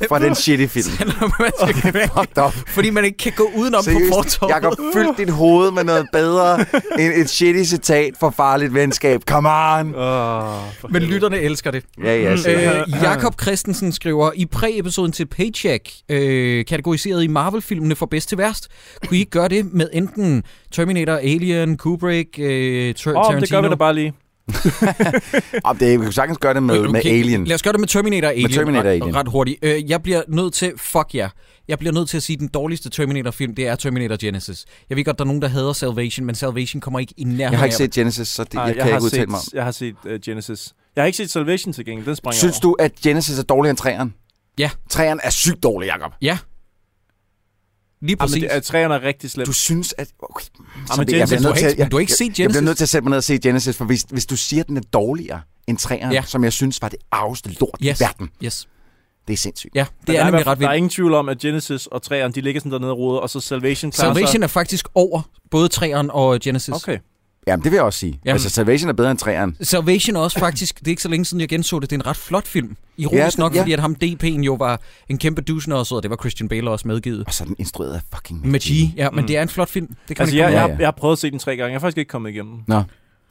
fra den shitty film?
handler om, at man skal crack.
Fuck dig op.
Fordi man ikke kan gå udenom på
Seriøst,
fortorvet.
Jakob, fyld dit hoved med noget bedre end et shitty citat fra farligt venskab. Come on!
Åh, for
Men
helvede.
lytterne elsker det.
Ja, ja, sikkert.
Øh, Jakob Christensen skriver, i præ-episoden til Paycheck, øh, kategoriseret i Marvel-filmene fra bedst til værst, kunne I ikke gøre det med enten Terminator, Alien, Kubrick, øh, Tar-
Åh,
Tarantino?
men det gør vi da bare lige.
Og det, vi kan sagtens gøre det med,
Øh, Okay,
med Alien.
Lad os gøre det med Terminator Alien,
Terminator
ret,
Alien.
ret hurtigt. Øh, jeg bliver nødt til, fuck jer, yeah. jeg bliver nødt til at sige, at den dårligste Terminator-film, det er Terminator Genesis. Jeg ved godt, der er nogen, der hader Salvation, men Salvation kommer ikke i nærheden
Jeg har
af-
ikke set Genesis, så det,
Ej,
jeg, jeg kan
har
ikke udtale
set,
mig om.
Jeg har set uh, Genesis. Jeg har ikke set Salvation til gengæld. Den sprang
Synes
jeg
du, at Genesis er dårligere end træeren?
Ja.
Træeren er sygt dårlig, Jacob.
Ja. Lige
over.
præcis.
Jamen, det, er, træerne er rigtig slemt.
Du synes, at... Okay. Så
men
det- jeg
Genesis,
bliver
du har
nødt til
ikke-
at- jeg-
du har ikke set
jeg- Jeg bliver
Genesis.
nødt til at sætte mig ned og se Genesis, for hvis, hvis du siger, at den er dårligere end træeren,
Ja.
ja. som jeg synes var det arveste lort yes.
yes.
i verden,
Yes.
det er sindssygt.
Ja,
Men
det er
der i hvert
nemlig
fald-
ret vildt.
Der er ingen tvivl om, at Genesis og træerne, de ligger sådan dernede og roder, og så Salvation klarer
Salvation er faktisk over både 3'eren og Genesis.
sig. Okay.
Jamen, det vil jeg også sige.
Jamen.
Altså, Salvation er bedre end træeren.
Salvation er også faktisk, det er ikke så længe siden, jeg genså det, det er en ret flot film. Ironisk ja,
Ja,
det,
det-
nok,
ja.
fordi at ham DP'en jo var en kæmpe dusen også, og det var Christian Bale også medgivet.
Og så er den instrueret af fucking
Med G, ja, men
Mm.
det er en flot film. Det kan
Altså,
man
jeg,
ikke
jeg,
Ja, ja.
jeg har prøvet at se den tre gange. Jeg er faktisk ikke kommet igennem.
Nå,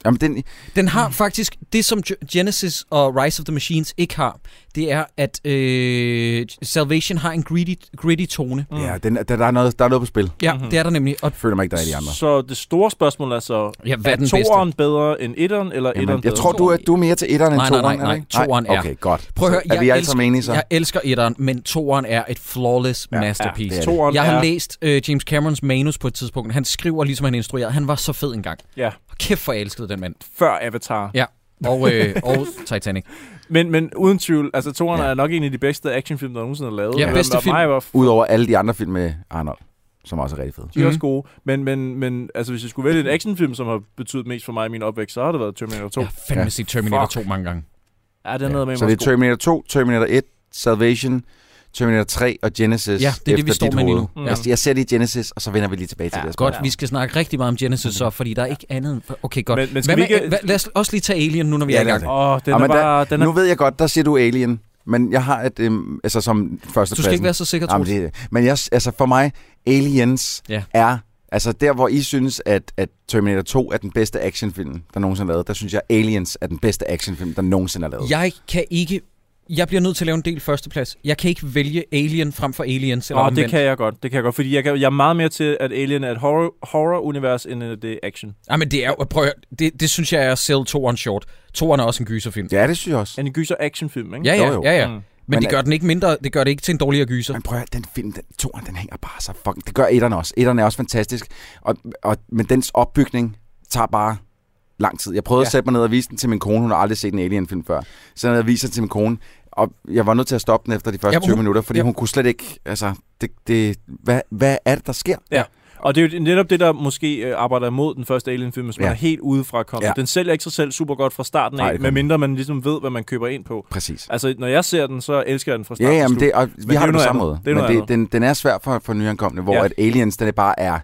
Jamen, den,
Den har faktisk det, som Ge- Genesis og Rise of the Machines ikke har. Det er, at øh, Salvation har en gritty, gritty tone.
Mm.
ja, den, der, der, er noget, der er noget på spil.
Ja,
Mhm.
mm-hmm. det er der nemlig. Og
Jeg føler mig ikke, der er i de andre.
Så det store spørgsmål er så,
ja, hvad er den bedste?
toeren bedre end etteren, eller etteren
Jamen,
bedre
jeg tror,
end
du er, du er mere til etteren end
Nej, nej,
toeren,
nej,
er det
nej.
ikke?
Toeren er-
Okay, godt.
Prøv at høre,
er vi
jeg
alle sammen enige så?
Jeg elsker etteren, men toeren er et flawless
Ja,
ja,
ja,
masterpiece.
det er det.
Toeren
Jeg har
er-
læst øh, James Camerons manus på et tidspunkt. Han skriver, ligesom han instruerede. Han var så fed engang.
Ja.
Kæft for jeg elskede den mand.
før Avatar.
Ja. Og, øh, og Titanic.
Men, men uden tvivl, altså toeren
Ja.
ja. er nok en af de bedste actionfilm, der nogensinde er lavet.
Ja,
Den
bedste
var
film.
Mig var f-
Udover alle de andre film med Arnold, som også er rigtig fede.
de er også
Mhm.
gode. Men, men, men altså, hvis jeg skulle vælge en actionfilm, som har betydet mest for mig i min opvækst, så har det været Terminator 2.
Jeg
Ja,
har fandme
Ja.
ja. set Terminator
Fuck.
2 mange gange.
ja det er noget med,
Så det er Terminator 2, Terminator 1, Salvation, Terminator 3 og Genesis.
Ja, det er det, vi
efter
står
dit
med lige
hoved.
nu.
Mm.
Ja.
Jeg, jeg ser lige Genesis, og så vender vi lige tilbage til
Ja,
det. her
Godt,
Ja.
vi skal snakke rigtig meget om Genesis så, fordi der er ikke andet... end- Okay, godt.
Men, men
Hvad
skal vi
med, øh,
ikke...
hvad, lad os også lige tage Alien nu, når vi
Ja,
er i
lad
gang.
os
Åh, den
Ja,
er
men
bare... Den
spørgsmål. Nu
er,
ved jeg godt, der siger du Alien, men jeg har et, øhm, altså som første
Du skal ikke være så sikker, Troels.
Jamen, det, men jeg, altså for mig, Aliens ja.
Ja.
er... Altså der, hvor I synes, at, at Terminator 2 er den bedste actionfilm, der nogensinde er lavet, der synes jeg, Aliens er den bedste actionfilm, der nogensinde er lavet.
Jeg kan ikke... Jeg bliver nødt til at lave en del førsteplads. Jeg kan ikke vælge Alien frem for Aliens. Eller
Nå, det
omvendt.
kan jeg godt, det kan jeg godt, fordi jeg, kan, jeg er meget mere til, at Alien er et horror, horror-univers, end at det er action.
Ej, men det er jo... Prøv at høre, det, det synes jeg er selv toeren short. Toeren er også en gyserfilm.
Ja, det synes jeg også.
En gyser actionfilm, ikke?
Ja, ja,
Jo, jo.
ja, ja.
Mm.
Men,
Men
det
er-
gør den ikke mindre, det gør det ikke til en dårligere gyser.
Men prøv at høre, den film, den, toren, den hænger bare så fucking... Det gør etterne også. Etterne er også fantastisk. Og, og, men dens opbygning tager bare lang tid. Jeg prøvede ja.
Ja.
at sætte mig ned og vise den til min kone. Hun har aldrig set en Alien-film før. Så jeg ned og viste den til min kone. Og jeg var nødt til at stoppe den efter de første
Jamen,
20
hun-
minutter, fordi
ja.
hun kunne slet ikke... Altså, det, det, hvad, hvad er det, der sker?
Og det er jo netop det, der måske øh, arbejder imod den første Alien-film, hvis man
Ja.
er helt udefra kommet.
Ja.
Den sælger ikke sig selv super godt fra starten
Nej,
af,
det gør den.
medmindre man ligesom ved, hvad man køber ind på.
Præcis.
Altså, når jeg ser den, så elsker jeg den fra start
Ja, ja,
til
men
slut.
det, og vi
det er
har det
jo
på
noget
samme
andet.
måde.
Det er
men
noget
det,
andet.
den, den er svær for, for nyankomne, hvor
Ja.
ja. at Aliens, den er bare er...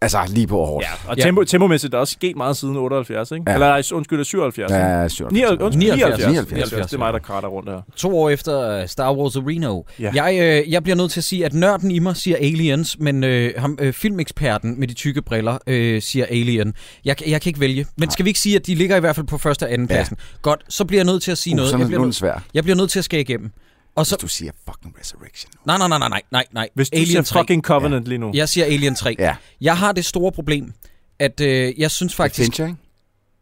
Altså, lige på hårdt.
Ja, og
Ja.
tempo, tempo-mæssigt er der også sket meget siden 78, ikke?
Ja.
Ja. Eller nej, undskyld, 77. ikke?
Ja, sure.
79,
79.
79.
79,
Det er mig, der kratter rundt her.
To år efter øh, Star Wars Reno.
Ja.
Ja. Jeg, øh, jeg bliver nødt til at sige, at nørden i mig siger Aliens, men øh, ham, øh, filmeksperten med de tykke briller øh, siger Alien. Jeg, kan- jeg kan ikke vælge. Men skal vi ikke sige, at de ligger i hvert fald på første og anden
Ja.
pladsen? Godt, så bliver jeg nødt til at sige
Uh,
noget.
sådan
Jeg
er
bliver,
nu er den
nødt,
svær.
jeg bliver nødt til at skære igennem. Og så...
Hvis du siger fucking Resurrection nu.
Nej, nej, nej, nej, nej, nej, nej.
Hvis du
Alien
Alien ser
3.
fucking Covenant ja. lige nu.
Jeg siger Alien 3.
Ja.
Jeg har det store problem, at øh, jeg synes faktisk...
Fincher, ikke?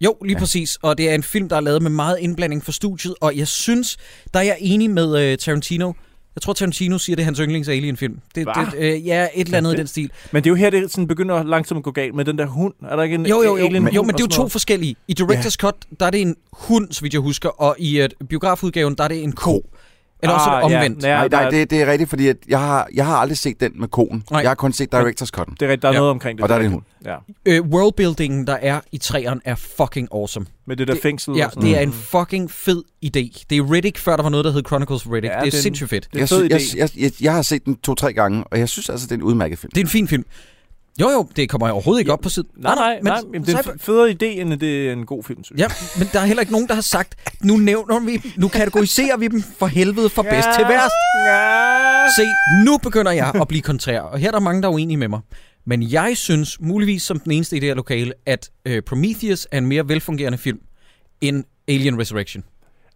Jo, lige
Ja.
ja. præcis. Og det er en film, der er lavet med meget indblanding fra studiet. Og jeg synes, der er jeg enig med øh, Tarantino. Jeg tror, Tarantino siger, det er hans yndlings Alien-film. Det,
Hva?
det, øh, ja, et eller andet i den stil.
Men det er jo her, det sådan begynder langsomt at gå galt med den der hund. Er der ikke en
Jo, jo, jo.
alien
Men, jo, men det er jo to
for...
forskellige. I Directors ja. Cut, der er det en hund, så vidt jeg husker. Og i øh, biografudgaven, der er det en ko. Eller også er det
Ah, ja,
omvendt.
ja.
Nej,
der
nej,
er-
det, det er rigtigt, fordi at jeg, har, jeg har aldrig set den med konen. Nej.
Nej.
Jeg har kun set Directors Cut'en.
Det er rigtigt, der er
Ja.
noget omkring det.
Og der er det en hund.
Ja.
Øh, worldbuildingen, der er i træerne, er fucking awesome.
Med det der
Det-
fængsel
Ja,
og sådan
det er
noget.
en fucking fed idé. Det er Riddick, før der var noget, der hed Chronicles of Riddick.
Ja,
Ja, det er
den-
sindssygt fedt.
Det er en
Jeg,
fed
sy- jeg,
idé.
jeg, jeg, jeg har set den to-tre gange, og jeg synes altså, det er en udmærket film.
Det er en fin film. Jo, jo, det kommer jeg overhovedet ikke op på siden.
Nej, nej, nej. Men, det er en federe idé, end at det er en god film, synes jeg.
Ja, men der er heller ikke nogen, der har sagt, nu nævner vi dem, nu kategoriserer vi dem for helvede fra bedst til værst.
Ja.
Se, nu begynder jeg at blive kontrær, og her er der mange, der er uenige med mig. Men jeg synes, muligvis som den eneste i det her lokale, at øh, Prometheus er en mere velfungerende film end Alien Resurrection.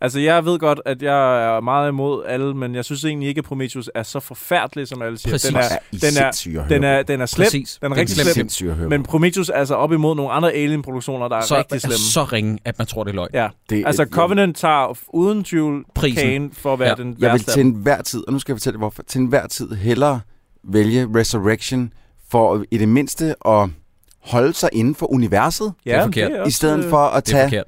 Altså, jeg ved godt, at jeg er meget imod alle, men jeg synes egentlig ikke, at Prometheus er så forfærdelig, som alle siger.
Præcis.
Den er,
I
den er,
sindssyge at høre
den er,
på.
den er slem.
Præcis.
Den er
Det
rigtig
en
slem.
Sindssyge at høre
Men
på.
Prometheus er altså op imod nogle andre Alien-produktioner, der er
Så,
rigtig slemme.
er så ringe, at man tror, det er løgn.
Ja,
Det er-
altså Covenant tager f- uden tvivl
Prisen.
kagen for at være
Ja.
den værste
Jeg vil
af
til enhver tid, og nu skal jeg fortælle hvorfor, til enhver tid hellere vælge Resurrection for i det mindste at holde sig inden for universet,
dem.
Det er
men
forkert.
er
i
også,
stedet
øh,
for at
Det er
tage...
forkert.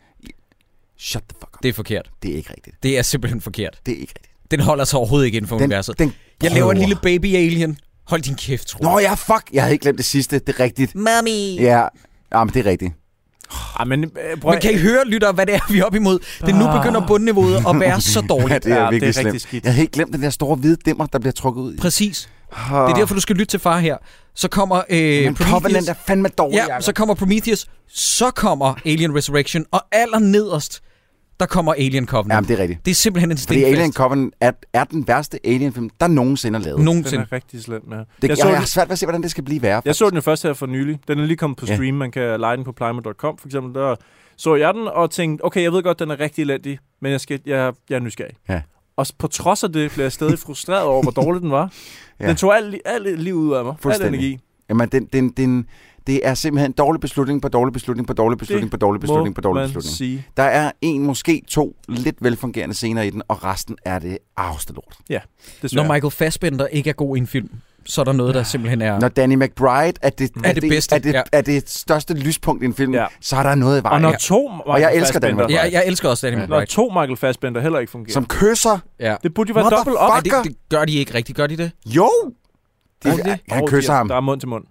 Shut the fuck up.
Det er forkert.
Det er ikke rigtigt.
Det er simpelthen forkert.
Det er ikke rigtigt.
Den holder sig overhovedet ikke inden for
Den,
universet.
den
Jeg laver en
prøver.
lille baby alien. Hold din kæft, tro.
Nå ja, fuck! Jeg havde ikke glemt det sidste. Det er rigtigt.
Mommy!
Ja, ja men det er rigtigt.
Ej, men, øh, prøv,
Men kan I høre, lytter, hvad det er, vi er oppe imod? Det er nu begynder bundniveauet at være så
Ja,
dårligt.
det er
Ja,
virkelig
det er rigtig
slemt.
skidt.
Jeg havde ikke glemt den der store hvide dimmer, der bliver trukket ud. i.
Præcis.
Ah.
Det er derfor, du skal lytte til far her. Så kommer øh,
Men Covenant
Prometheus.
er fandme dårlig,
Ja, så kommer Prometheus. Så kommer Alien Resurrection. Og aller nederst, der kommer Alien Covenant.
Jamen, det er rigtigt.
det er simpelthen en
Fordi Alien
stenfest.
Covenant er, er den værste Alien-film, der nogensinde er lavet.
Den
Nogensinde.
er rigtig slem, ja.
Det,
jeg,
jeg,
så
jeg, jeg
den,
har svært ved at se, hvordan det skal blive værre.
jeg så den jo først her for nylig. Den er lige kommet på
Ja.
stream. Man kan lege den på plymer.com for eksempel. Der så jeg den og tænkte, okay, jeg ved godt, den er rigtig elendig, men jeg, skal, jeg, jeg er nysgerrig.
Ja.
Og s- på trods af det blev jeg stadig frustreret over, hvor dårlig den var.
Ja.
Den tog alt, li- alt liv ud af mig. Al
Fuldstændig.
energi.
Jamen, den, den, den, det er simpelthen dårlig beslutning på dårlig beslutning på dårlig beslutning på dårlig beslutning på
Må
dårlig
man
beslutning.
sige.
Der er en, måske to lidt velfungerende scener i den, og resten er det arveste lort.
Desværre.
Når Michael Fassbender ikke er god i en film, så er der noget, der simpelthen er...
Ja. Når Danny McBride er det,
Er det bedste,
er det,
ja.
er det største lyspunkt i en film,
Ja.
ja. så er der noget i
og
vejen,
når
ja.
to Michael
jeg elsker den,
Fassbender-
vel?
Jeg, jeg elsker også Danny
Ja.
Når
McBride.
to Michael Fassbender heller ikke fungerer.
som kysser.
Ja.
Det burde jo være
What the
dobbelt op.
fuck?
Ej, det, det gør de ikke rigtigt. Gør de det?
Jo!
Gør
Det,
de
det?
det?
Han
Åh,
kysser
de er-
ham.
Der er mund til mund.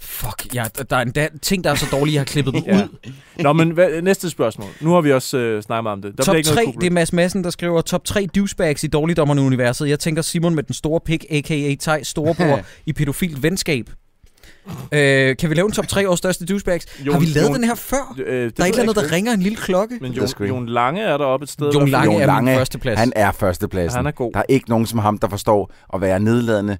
Fuck, ja, der- der er endda ting, der er så dårlige, jeg har klippet dem
Ja.
ud.
Nå, men hvad, næste spørgsmål. Nu har vi også øh, snakket meget om det. Der
top
bliver ikke
3,
noget
det er
problem.
Mads Madsen, der skriver top 3 douchebags i Dårligdommerne-universet. Jeg tænker Simon med den store pik, a.k.a. Tej, storebror i pædofilt venskab. Øh, kan vi lave en top 3 års største douchebags?
Jon-
har vi lavet
Jon-
den her før?
Øh, det ved
Der er
jeg
et eller andet,
sgu
der ringer en lille klokke.
Men
Det er sgu
Jon,
ikke.
Jon Lange er der oppe et sted. i
Jon
hvert fald.
Lange
Jon
er
Lange,
min førsteplads.
Han er førstepladsen.
Han er god.
Der er ikke nogen som ham, der forstår at være nedladende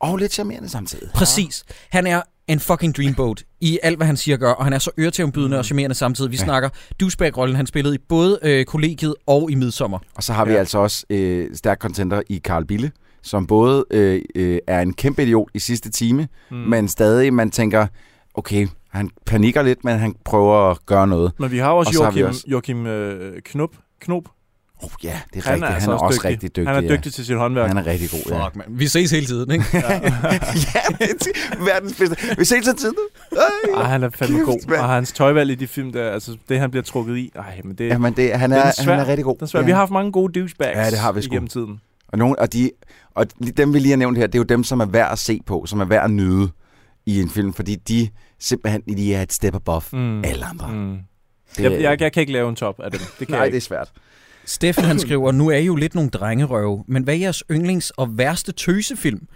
og lidt charmerende samtidig.
Præcis. Han er en fucking dreamboat i alt, hvad han siger og gør, og han er så øretævnbydende og charmerende samtidig. Vi
Ja.
snakker douchebag-rollen, han spillede i både øh, kollegiet og i Midsommer.
Og så har vi
Ja.
ja. altså også øh, stærk contenter i Karl Bille, som både øh, øh, er en kæmpe idiot i sidste time, mm. men stadig man tænker, okay, han panikker lidt, men han prøver at gøre noget.
Men vi har også
Og så har vi
Joachim,
også-
Joachim øh, Knop. Knop.
Oh, ja, det er
Han
rigtigt.
er, altså
han er også
dygtig.
rigtig dygtig.
Han er dygtig til sit håndværk.
Ja. Han er rigtig god, ja.
man. Vi ses hele tiden, ikke?
ja, det er verdens bedste. Vi ses til tiden.
Ej, han er fandme
Kæft,
god.
mand.
Og hans tøjvalg i de film der, altså det han bliver trukket i. Ej, men det,
Jamen, det, han,
Den er
er,
svær.
han er rigtig god.
det er svært. Vi har haft mange gode douchebags
Ja, det har vi sgu.
igennem tiden.
Og, nogen, og, de, og lige- dem, vi lige har nævnt her, det er jo dem, som er værd at se på, som er værd at nyde i en film, fordi de simpelthen de er et step above
Mm.
alle andre.
Mm.
Det,
Jeg, jeg, jeg, kan ikke lave en top af dem. Det kan
nej,
jeg
det er
ikke.
svært.
Steffen han skriver, nu er I jo lidt nogle drengerøve, men hvad er jeres yndlings- og værste tøsefilm?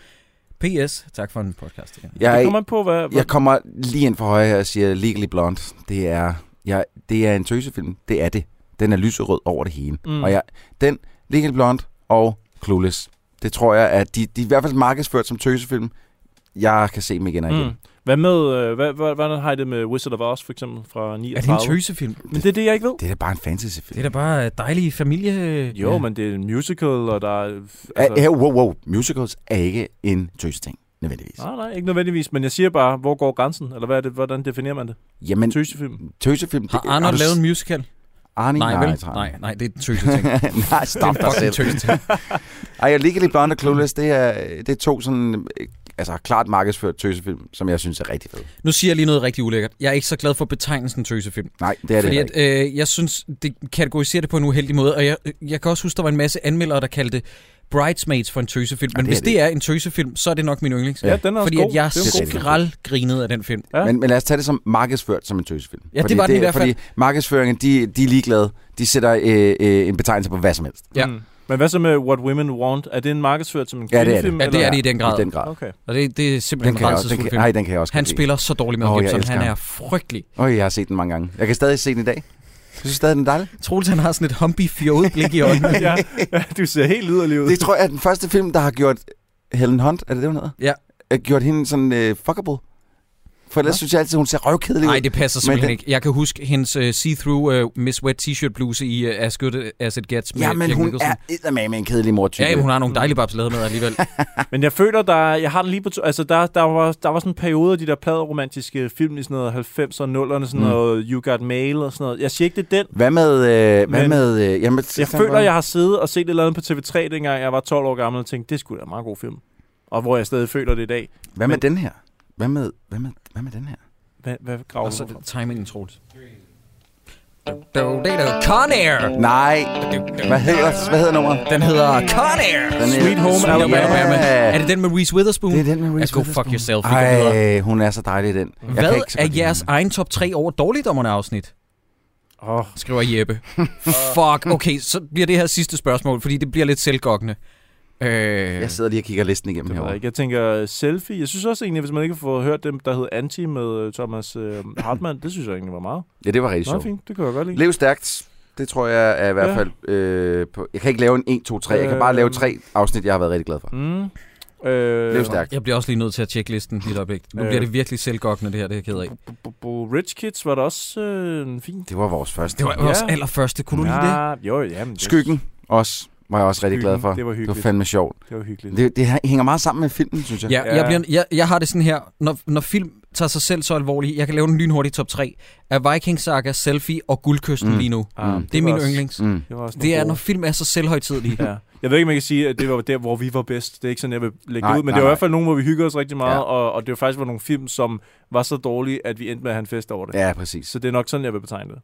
P.S. Tak for en podcast. Ja.
Jeg,
Det kommer an på, hvad... hvad
jeg kommer lige ind for højre her og siger Legally Blonde. Det er, jeg, det er en tøsefilm. Det er det. Den er lyserød over det hele.
Mm.
Mm. Og jeg, den, Legally Blonde og Clueless, det tror jeg, at de, de er i hvert fald markedsført som tøsefilm. Jeg kan se dem igen og igen.
Mm. Hvad med, øh, hvad, hvad, hvordan har I det med Wizard of Oz, for eksempel, fra
Er
39?
det en tøsefilm?
Men det er det, jeg ikke ved.
Det er da bare en
Det er
fantasyfilm.
da bare dejlige familie...
Jo, ja. men det er en musical, og der er... øh,
Altså... Ja, wow, wow. Musicals er ikke en tøseting, nødvendigvis.
Nej, nej, ikke nødvendigvis, men jeg siger bare, hvor går grænsen? Eller hvad er det, hvordan definerer man det?
Jamen,
Tøsefilm?
tøsefilm...
Har Arnold lavet en musical?
Arne?
Nej,
nej,
vel?
tror jeg
Nej,
ikke.
nej, det er en tøseting.
nej, stop dig selv. Ej, og Legally Blonde og Clueless, det er, det er to sådan, øh, altså klart markedsført tøsefilm, som jeg synes er rigtig fede.
Nu siger jeg lige noget rigtig ulækkert. Jeg er ikke så glad for betegnelsen tøsefilm.
Nej, det er det
Fordi
heller
at,
ikke.
øh, jeg synes, det kategoriserer det på en uheldig måde, og jeg, jeg kan også huske, der var en masse anmeldere, der kaldte det Bridesmaids for en tøsefilm. Men
det er
hvis
det
det er en tøsefilm, så er det nok min yndlings.
Ja, ja den er også
Fordi
god.
at jeg
Det er
en god film.
skraldgrinede af den film.
Ja.
Men, men lad os tage det som markedsført som en tøsefilm.
Ja, det var den i hvert fald.
Fordi markedsføringen, de, de er ligeglade. De sætter øh, øh, en betegnelse på hvad som helst.
Ja.
Mm. Men hvad så med What Women Want? Er det en markedsført som en
Ja, det er det.
kvindefilm?
Ja, det
eller-
er det i den grad.
I den grad.
Okay.
Og det, det er
Den
simpelthen
kan
en
jeg, også- den
rædselsfuld
kan,
film.
nej, den kan jeg også
Han
godt lide.
spiller så dårligt med
Åh,
oh,
jeg
Gibson.
elsker
Han
ham.
er frygtelig.
Åh, jeg har set den mange gange. Jeg kan stadig se den i dag. Jeg synes stadig, den er dejlig.
Troels, han har sådan et humpy fjollet blik i øjnene.
ja, ja, du ser helt yderlig ud.
Det tror jeg er den første film, der har gjort Helen Hunt, er det det, hun hedder?
Ja.
Er Gjort hende sådan øh, fuckable. For ellers ja. synes jeg altid, hun ser røvkedelig ud.
Nej, det passer simpelthen
den-
ikke. Jeg kan huske hendes uh, see-through uh, Miss Wet t-shirt bluse i uh, As Good As It Gets med
Ja, men
Jack
hun
Nicholson.
er eddermame en kedelig mor-type.
Ja, jamen, hun har nogle dejlige babs lavet med alligevel.
Men jeg føler, der, jeg har den lige på... To, altså, der, der, var, der var sådan en periode af de der pladeromantiske film i sådan noget 90'erne og 0'erne, sådan
Mm.
noget You Got Mail og sådan noget. Jeg siger ikke, det er den.
Hvad med... Øh, hvad
Men-
med øh, jamen,
Jeg føler, jeg har siddet og set et eller andet på TV3, dengang jeg var 12 år gammel, og tænkte, det skulle da en meget god film. Og hvor jeg stadig føler det i dag.
Hvad med
men-
den her? Hvad med, hvad med, hvad med den her?
Hvad, hvad graver
Og
du
så
frem?
timingen, Troels. Con Air!
Nej, hvad hedder, hvad hedder nummeret?
Den hedder Con Air!
Den er-
Sweet Home
Sweet
Alabama.
Alabama. Er det den med Reese Witherspoon?
Det er den med Reese
Ja, go fuck
Witherspoon.
yourself, ikke? Den
Ej, hun er så dejlig i den. Jeg kan
Hvad
ikke så
er
godt lide
jeres
hende.
egen top 3 over dårligdommerne afsnit?
Åh,
Skriver Jeppe. Fuck, okay, så bliver det her sidste spørgsmål, fordi det bliver lidt selvgokkende. Øh,
Jeg sidder lige og kigger listen igennem
det ved jeg
herovre.
ikke. Jeg tænker øh, selfie. Jeg synes også egentlig, hvis man ikke får hørt dem, der hed Anti med øh, Thomas øh, Hartmann, det synes jeg egentlig var meget.
Ja, det var rigtig
Nå,
sjovt.
fint. Det kunne jeg godt lide.
Lev stærkt. Det tror jeg er i hvert
Ja.
fald... Øh, på, jeg kan ikke lave en 1, 2, 3. Jeg kan bare lave
Øhm.
tre afsnit, jeg har været rigtig glad for.
Mm. Øh,
Lev stærkt.
Jeg bliver også lige nødt til at tjekke listen lige et øjeblik. Nu
Øh.
bliver det virkelig selvgokkende, det her, det er jeg ked af.
bu- bu- bu- Rich Kids var da også øh, en fin...
Det var vores første.
Det var
Ja.
vores allerførste, kunne du lide det?
det? Jo, jamen, det,
Skyggen også var jeg også rigtig glad for.
Skyggen, det var
Det var
hyggeligt.
fandme sjovt.
Det var hyggeligt.
Det, det hænger meget sammen med filmen, synes jeg.
Ja,
Ja.
jeg, bliver, jeg, jeg har det sådan her, når, når film tager sig selv så alvorligt, jeg kan lave en lynhurtig top 3 af Viking Saga, Selfie og Guldkysten
Mm.
mm. lige nu.
Ah,
Mm.
Det er
var
min
også-
yndlings.
Mm.
Det, var også
Det er, når
noget.
film er så selvhøjtidlige.
Ja. Jeg ved ikke, om jeg kan sige, at det var der, hvor vi var bedst. Det er ikke sådan, jeg vil lægge
Nej,
det ud, men
nej,
det var i
nej.
hvert fald nogen, hvor vi hyggede os rigtig meget,
Ja.
ja. og, og det var faktisk var nogle film, som var så dårlige, at vi endte med at have en fest over det.
Ja, præcis.
Så det er nok sådan, jeg vil betegne det.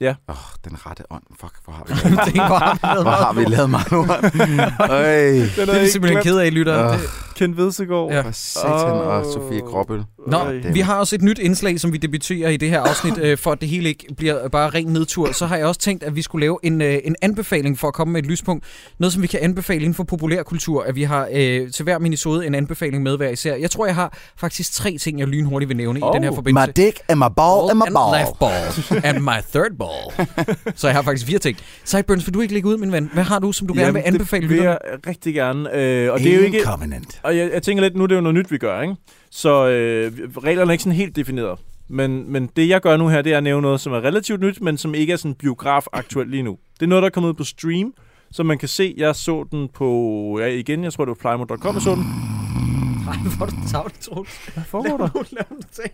Åh, oh, den rette ånd. Fuck, hvor har vi
det er bare
hvor har vi lavet meget lort. Øj,
Den
Det er vi simpelthen ked af, lytter.
Åh.
Det,
Ken Vedsegaard.
Ja.
for satan og
Åh.
Sofie Gråbøl.
Nå,
Øj.
vi har også et nyt indslag, som vi debuterer i det her afsnit, øh, for at det hele ikke bliver bare ren nedtur. Så har jeg også tænkt, at vi skulle lave en, øh, en anbefaling for at komme med et lyspunkt. Noget, som vi kan anbefale inden for populærkultur, at vi har øh, til hver minisode en anbefaling med hver især. Jeg tror, jeg har faktisk tre ting, jeg lynhurtigt vil nævne oh, i den her forbindelse.
My dick and my ball and my ball.
left ball. And my third ball. Så jeg har faktisk fire ting. Sideburns, vil du ikke lægge ud, min ven? Hvad har du, som du gerne vil anbefale
det vil
lytterne?
jeg rigtig gerne. Øh, og det er jo ikke...
Covenant.
Og jeg, jeg tænker lidt, nu er det jo noget nyt, vi gør, ikke? Så øh, reglerne er ikke sådan helt defineret. Men, men det, jeg gør nu her, det er at nævne noget, som er relativt nyt, men som ikke er sådan biograf aktuelt lige nu. Det er noget, der er kommet ud på stream, som man kan se. Jeg så den på... Ja, igen, jeg tror, det var plymouth.com, jeg så den.
Mm.
Ej, hvor er du tavlig, Troels.
Hvad foregår der?
Lav nu- lav nu selv.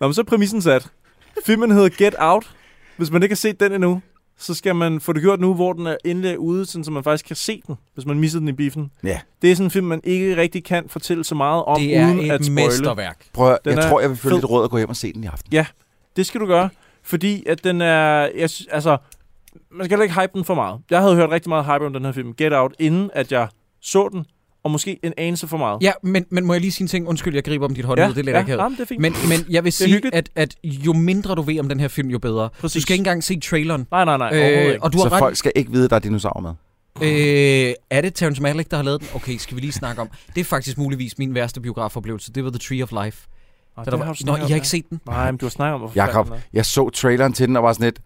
Nå, men så er præmissen sat. Filmen hedder Get Out. Hvis man ikke har set den endnu, så skal man få det gjort nu, hvor den er endelig ude, sådan, så man faktisk kan se den, hvis man missede den i biffen.
Ja.
Det er sådan en film, man ikke rigtig kan fortælle så meget om,
Det er
uden at
et
spoile.
mesterværk.
Prøv at,
Den
jeg
er
tror, jeg vil følge
fed.
dit råd og gå hjem og se den i aften.
Det skal du gøre, fordi at den er... Jeg, sy- altså, man skal heller ikke hype den for meget. Jeg havde hørt rigtig meget hype om den her film, Get Out, inden at jeg så den, og måske en anelse for meget.
Ja, men, men må jeg lige sige en ting? Undskyld, jeg griber om dit hånd ja, ud. Det er lidt ja, akavet.
jamen, det er fint.
Men, men jeg vil sige,
hyggeligt.
at, at jo mindre du ved om den her film, jo bedre. Præcis. Du
Præcis.
skal ikke engang se traileren.
nej, nej, nej, overhovedet
Øh,
ikke.
og du
Så
har ret.
folk skal ikke vide, at der er dinosaurer med.
Øh, er det Terrence Malick, der har lavet den? Okay, skal vi lige snakke om. Det er faktisk muligvis min værste biografoplevelse. Det var The Tree of Life.
Og
Da
det
der
har
var...
du
Nå,
snakket
I
om,
har
ja.
ikke set den?
Nej, men du har snakket om, hvorfor
Jakob,
fanden er.
jeg så traileren til den og var sådan lidt,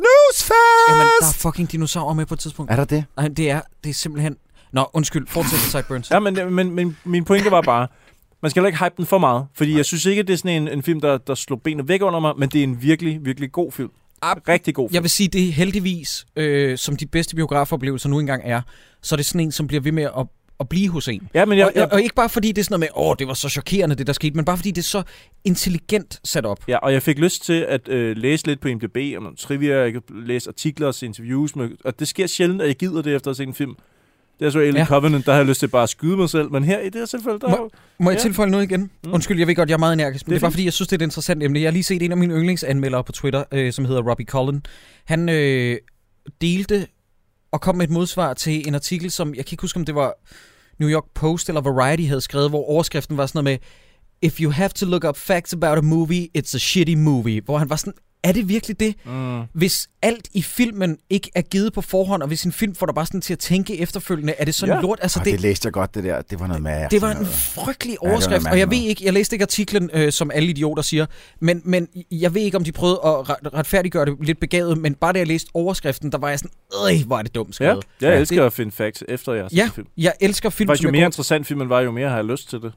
Snoozefest!
Jamen, der er fucking dinosaurer med på et tidspunkt.
Er der det?
Nej, det er, det er simpelthen... Nå, undskyld. Fortsæt, Sideburns.
Ja, men, men, men min pointe var bare, man skal heller ikke hype den for meget, fordi jeg synes ikke, at det er sådan en, en film, der, der slog benet væk under mig, men det er en virkelig, virkelig god film.
Ab-
Rigtig god film.
Jeg vil sige, det er heldigvis, øh, som de bedste biografoplevelser nu engang er, så er det sådan en, som bliver ved med at, at blive hos en.
Ja, men
Jeg,
jeg,
og, og
jeg,
ikke bare fordi det er sådan noget med, åh, det var så chokerende, det der skete, men bare fordi det er så intelligent sat op.
ja, og jeg fik lyst til at øh, læse lidt på IMDb om nogle trivia, jeg kan læse artikler og se interviews, med, og det sker sjældent, at jeg gider det efter at se en film. Det er så Alien
Ja.
ja. Covenant, der har jeg lyst til bare at skyde mig selv, men her i det her tilfælde, der er jo-
Må jeg
Ja.
tilføje noget igen?
Mm.
Undskyld, jeg ved godt, jeg er meget energisk, men
Det
det
er
er bare
fint.
fordi, jeg synes, det er et interessant emne. Jeg har lige set en af mine yndlingsanmeldere på Twitter, øh, som hedder Robbie Cullen. Han øh, delte og kom med et modsvar til en artikel, som jeg kan ikke huske, om det var New York Post eller Variety havde skrevet, hvor overskriften var sådan noget med, If you have to look up facts about a movie, it's a shitty movie. Hvor han var sådan, er det virkelig det?
Mm.
hvis alt i filmen ikke er givet på forhånd, og hvis en film får dig bare sådan til at tænke efterfølgende, er det sådan ja.
Ja.
lort? Altså,
Og
det,
det læste jeg godt, det der. Det var noget med...
det var en frygtelig
Ja, det var
overskrift,
noget
og jeg ved
mærkeligt
ikke, jeg læste ikke artiklen, øh, som alle idioter siger, men, men jeg ved ikke, om de prøvede at ret- retfærdiggøre det lidt begavet, men bare da jeg læste overskriften, der var jeg sådan, øh, hvor er det dumt
Ja,
skrevet.
jeg
Det-
elsker at finde facts efter jeg har set
Ja,
en film.
jeg elsker film,
Faktisk,
som
jo
er
mere
gode-
interessant filmen var, jo mere har jeg lyst til det.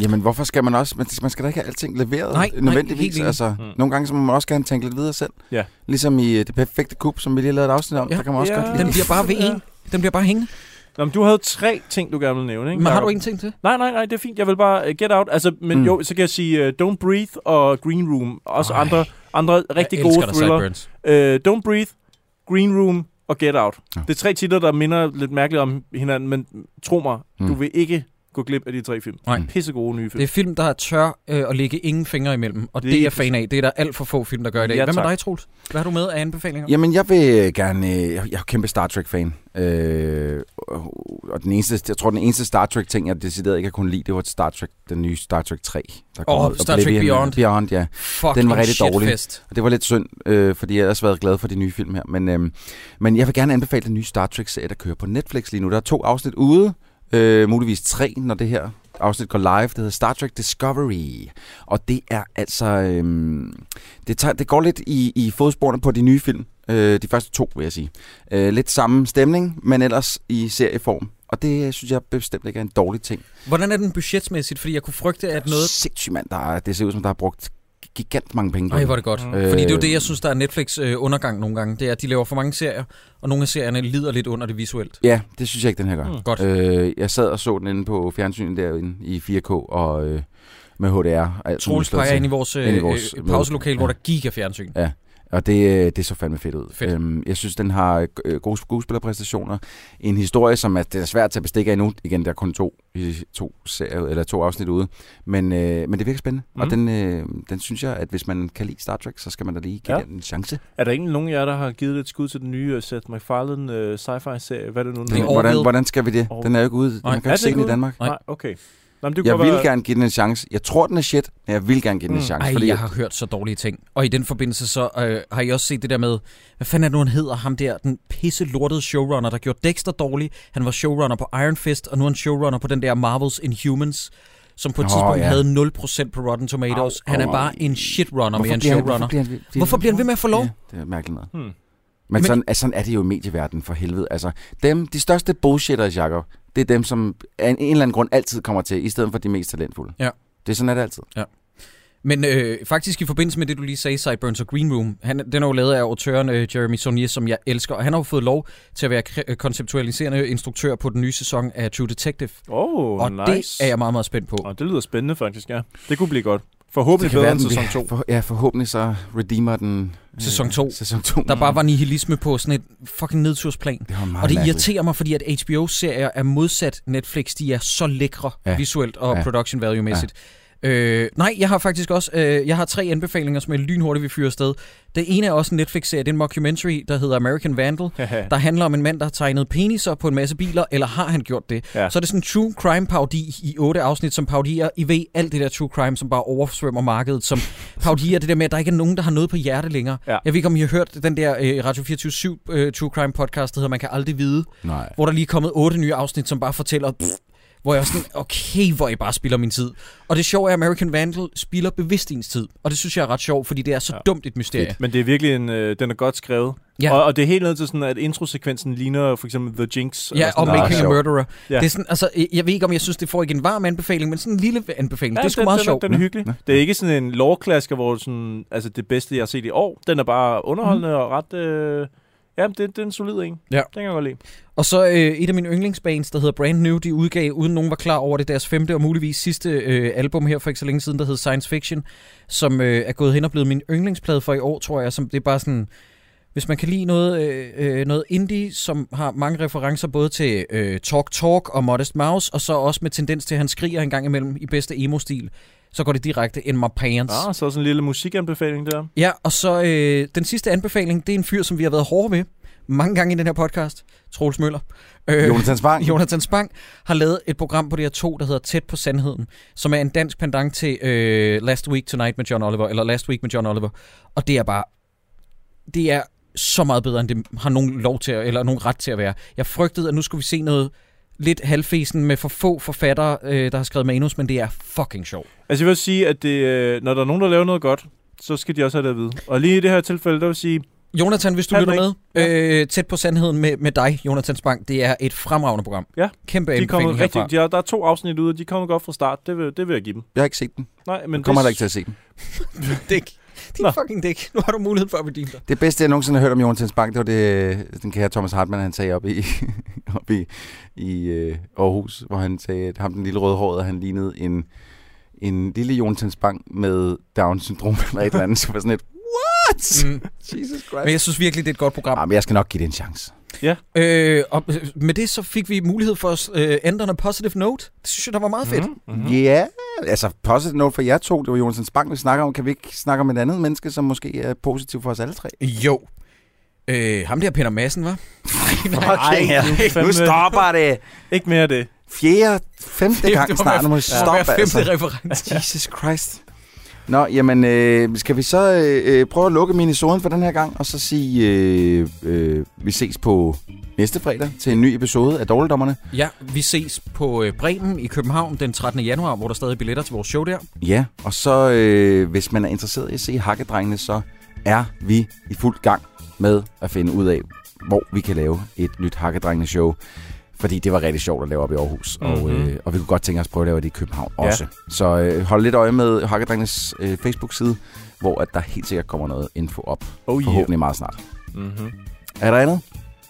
Jamen, hvorfor skal man også... Man, man skal da ikke have alting leveret
Nej,
nej,
nej, helt
nødvendigvis.
enig.
Nej, altså,
Mm.
mm. Nogle gange så må man også gerne tænke lidt videre selv.
Ja.
Ligesom i øh, Det Perfekte Kub, som vi lige lavede et afsnit om.
Ja.
Ja. Der kan man også
Ja.
godt lide.
Den bliver bare ved en. Den bliver bare hængende.
Nå, men du havde tre ting, du gerne ville nævne, ikke?
Men har
Jacob?
du ingenting til?
Nej, nej, nej, det er fint. Jeg vil bare uh, get out. Altså, men
Mm.
mm. jo, så kan jeg sige uh, Don't Breathe og Green Room. Også
Ej.
andre, andre rigtig gode thriller. Uh, Don't Breathe, Green Room og Get Out.
Ja.
Ja. Det er tre titler, der minder lidt mærkeligt om hinanden, men tro mig,
Mm.
mm. du vil ikke gå glip af de tre film.
Nej.
Pisse gode nye film.
Det er film, der er tør øh, at lægge ingen fingre imellem, og det,
Lige
er jeg fan af. Det er der alt for få film, der gør i dag.
Ja,
Hvad med
tak.
dig, Troels? Hvad har du med af anbefalinger?
Jamen, jeg vil øh, gerne... øh, Jeg jeg er jo kæmpe Star Trek-fan. Øh, og- og den eneste, jeg tror, den eneste Star Trek-ting, jeg decideret ikke har kunnet lide, det var Star Trek, den nye Star Trek 3. Der kom
Åh,
ud.
Star Trek
Oblivion.
Beyond.
Beyond, ja.
Fuck,
Den var
en
rigtig dårlig.
shitfest.
Og det var lidt synd, øh, fordi jeg har ellers været glad for de nye film her. Men, øh, men jeg vil gerne anbefale den nye Star Trek-serie, der kører på Netflix lige nu. Der er to afsnit ude, øh, muligvis tre, når det her afsnit går live, det hedder Star Trek Discovery. Og det er altså... Øhm, det, tager, det går lidt i, i fodsporene på de nye film. Øh, de første to, vil jeg sige. Øh, lidt samme stemning, men ellers i serieform. Og det øh, synes jeg bestemt ikke er en dårlig ting.
Hvordan er den budgetmæssigt? Fordi jeg kunne frygte, at
Noget.
noget...
Sindssygt mand, der er, det ser ud som, der har brugt gigant mange penge på
Nej,
den.
hvor er det godt.
Øh,
Fordi det er jo det, jeg synes, der er Netflix øh, undergang nogle gange. Det er, at de laver for mange serier, og nogle af serierne lider lidt under det visuelt.
Ja, det synes jeg ikke, den her gør.
Mm.
Godt.
Øh, jeg sad og så den inde på fjernsynet derinde i 4K og øh, med HDR. Og alt
Troels
muligt
peger
til.
ind i vores, øh,
Ind i vores
øh, pauselokale, hvor
møde.
der gik af fjernsyn.
Og det, øh, det så fandme fedt ud.
Fedt.
Øhm, jeg synes, den har øh, gode skuespillerpræstationer. En historie, som er, det er svært at tage bestik af endnu. Igen, der er kun to, i- to, serier, eller to afsnit ude. Men, øh, men det virker spændende.
Mhm.
Mm.
Mm.
Og den, øh, den synes jeg, at hvis man kan lide Star Trek, så skal man da lige give
Ja.
ja. den en chance.
Er der ingen nogen af jer, der har givet lidt skud til den nye øh, Seth MacFarlane øh, sci-fi-serie? Hvad er det nu? den
Den,
hedder?
Orville.
hvordan, hvordan skal vi det? Den er jo ikke ude.
Nej,
Man kan
er
ikke se
den
den i
ude?
Danmark.
Nej.
Nej, okay. Nå, men det kunne
Jeg
godt
vil
være-
gerne give den en chance. Jeg tror, den er shit, men jeg vil gerne give den en
Mm.
chance.
Ej,
Altså, fordi
jeg har hørt så dårlige ting. Og i den forbindelse så øh, har jeg også set det der med, hvad fanden er det nu, han hedder? Ham der, den pisse lortede showrunner, der gjorde Dexter dårlig. Han var showrunner på Iron Fist, og nu er han showrunner på den der Marvels Inhumans, som på et
Nå,
tidspunkt
ja.
havde 0% på Rotten Tomatoes.
Au,
han er
au.
bare en shitrunner mere en
bliver han-
showrunner.
bliver han, bliver
Hvorfor bliver han ved med at få lov?
Ja, det er mærkeligt noget.
Hmm.
Men,
Men-
Men sådan, altså, sådan er det jo i medieverdenen for helvede. Altså, dem, de største bullshitters, Jacob, det er dem, som af en, en eller anden grund altid kommer til, i stedet for de mest talentfulde.
Ja.
Det er sådan, er det altid.
Men øh, faktisk i forbindelse med det, du lige sagde, Sideburns og Green Room, han, den er jo lavet af autøren øh, Jeremy Saunier, som jeg elsker, og han har jo fået lov til at være kre- øh, konceptualiserende instruktør på den nye sæson af True Detective.
Åh,
og
oh, nice.
det er jeg meget, meget spændt på.
Og det lyder spændende faktisk, ja. Det kunne blive godt. Forhåbentlig bedre end
den
sæson
bliver-
2.
For, ja, forhåbentlig så redeemer den... øh,
Sæson to.
Sæson 2.
Der bare var nihilisme på sådan et fucking nedtursplan.
Det var meget
Og det
mærkeligt.
irriterer mig, fordi at HBO-serier er modsat Netflix. De er så lækre ja.
Ja.
visuelt og ja.
Ja.
production value-mæssigt. Ja. Øh, nej, jeg har faktisk også øh, jeg har tre anbefalinger, som jeg lynhurtigt vil fyre afsted. Det ene er også en Netflix-serie, det er en mockumentary, der hedder American Vandal, der handler om en mand, der har tegnet peniser på en masse biler, eller har han gjort det?
Ja.
Så er det sådan en true crime parodi i otte afsnit, som parodier, I ved, alt det der true crime, som bare oversvømmer markedet, som parodier det der med, at der ikke er nogen, der har noget på hjerte længere.
Ja.
Jeg ved ikke, om I har hørt den der øh, Radio 24-7 øh, true crime podcast, der hedder Man kan aldrig vide,
Nej.
hvor der lige er kommet otte nye afsnit, som bare fortæller... Pff, hvor jeg er sådan, okay, hvor I bare spilder min tid. Og det sjove er, at American Vandal spilder bevidst ens tid. Og det synes jeg er ret sjovt, fordi det er så
Ja.
ja. dumt et mysterie.
Men det er virkelig en, øh, den er godt skrevet.
Ja.
Og, og det er helt ned til sådan, at introsekvensen ligner for eksempel The Jinx. eller
Ja,
sådan
og
noget.
meget
Making a
sjovt.
Murderer. Ja.
Ja.
Det er sådan, altså, jeg- jeg ved ikke, om jeg synes, det får ikke en varm anbefaling, men sådan en lille anbefaling. Ja, det er sgu
den,
meget
den,
sjovt.
Den er hyggelig. Det er ikke sådan en lovklasker, hvor sådan, altså det bedste, jeg har set i år, den er bare underholdende mm. og ret... Øh, ja, det, det er en solid en.
Mhm. Ja.
Den kan jeg godt lide.
Og så øh, et af mine yndlingsbands, der hedder Brand New, de udgav, uden nogen var klar over det, deres femte og muligvis sidste øh, album her for ikke så længe siden, der hed Science Fiction, som øh, er gået hen og blevet min yndlingsplade for i år, tror jeg. Som, det er bare sådan, hvis man kan lide noget, øh, øh, noget indie, som har mange referencer både til øh, Talk Talk og Modest Mouse, og så også med tendens til, at han skriger en gang imellem i bedste emo-stil, så går det direkte in my pants.
Ah, så sådan en lille musikanbefaling der.
Ja, og så øh, den sidste anbefaling, det er en fyr, som vi har været hårde ved mange gange i den her podcast. Troels Møller. Øh,
Jonathan Spang.
Jonathan Spang har lavet et program på DR2, der hedder Tæt på Sandheden, som er en dansk pendant til øh, Last Week Tonight med John Oliver, eller Last Week med John Oliver. Og det er bare... Det er så meget bedre, end det har nogen lov til, at, eller nogen ret til at være. Jeg frygtede, at nu skulle vi se noget lidt halvfesen med for få forfattere, øh, der har skrevet manus, men det er fucking sjovt.
Altså jeg vil også sige, at det, øh, når der er nogen, der laver noget godt, så skal de også have det at vide. Og lige i det her tilfælde, der vil sige,
Jonathan, hvis du
Han
lytter
er
med, øh, tæt på sandheden med, med dig, Jonathan Spang, det er et fremragende program.
Ja,
Kæmpe
de er
anbefaling
kommet
herfra.
rigtigt, de er, der er to afsnit ude, og de kommer godt fra start. Det vil, det vil jeg give dem.
Jeg har ikke set den.
Nej, men
Jeg kommer
det,
heller ikke til at se den.
Dæk. Din
Nå.
fucking dæk. Nu har du mulighed for at bedine dig.
Det bedste, jeg nogensinde har hørt om Jonathan Spang, det var det, den kære Thomas Hartmann, han sagde op i, op i, i øh, Aarhus, hvor han sagde, at ham den lille rødhårede, han lignede en, en lille Jonathan Spang med Down-syndrom eller et eller andet, så var sådan et, what?
Mm.
Jesus
Men
Christ.
jeg synes virkelig, det er et godt program.
Ah, men jeg skal nok give det en chance.
Øh, og med det så fik vi mulighed for at øh, ændre en positive note. Det synes jeg, der var meget fedt.
Mm-hmm.
Ja,
Mm-hmm.
yeah. altså positive note for jer to, det var Jonathan Spang, vi snakker om. Kan vi ikke snakke om et andet menneske, som måske er positiv for os alle tre?
Jo. Øh, ham der Peter Madsen, var.
Fucking hell.
nu stopper det.
Ikke mere af det.
Fjerde, femte
Det
gang
var
snart, nu må
hver
stoppe,
femte
altså.
reference.
Jesus Christ. Nå, jamen, øh, skal vi så øh, øh, prøve at lukke minisoden for den her gang, og så sige, øh, øh, vi ses på næste fredag til en ny episode af Dårligdommerne.
Ja, vi ses på øh, Bremen i København den 13. januar, hvor der stadig er billetter til vores show der.
Ja, og så øh, hvis man er interesseret i at se Hakkedrengene, så er vi i fuld gang med at finde ud af, hvor vi kan lave et nyt Hakkedrengene-show. Fordi det var rigtig sjovt at lave op i Aarhus, mm-hmm. og,
Mhm.
øh, og vi kunne godt tænke os at prøve at lave det i København
Ja.
også. Så øh, hold lidt øje med Hakkedrengenes øh, Facebook-side, hvor at der helt sikkert kommer noget info op,
Oh yeah.
forhåbentlig meget snart.
Mm-hmm.
Er der andet?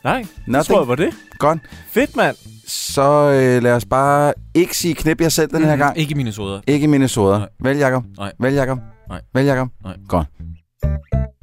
Nej, det tror
Nothing?
jeg var det.
Godt.
Fedt, mand.
Så øh, lad os bare ikke sige knip jer selv den her
Mhm.
gang.
Mm. Ikke mine soder.
Ikke Minnesota.
Nej.
Vælg Jacob.
Nej.
Vælg Jacob.
Nej.
Vælg Jacob.
Nej.
Godt.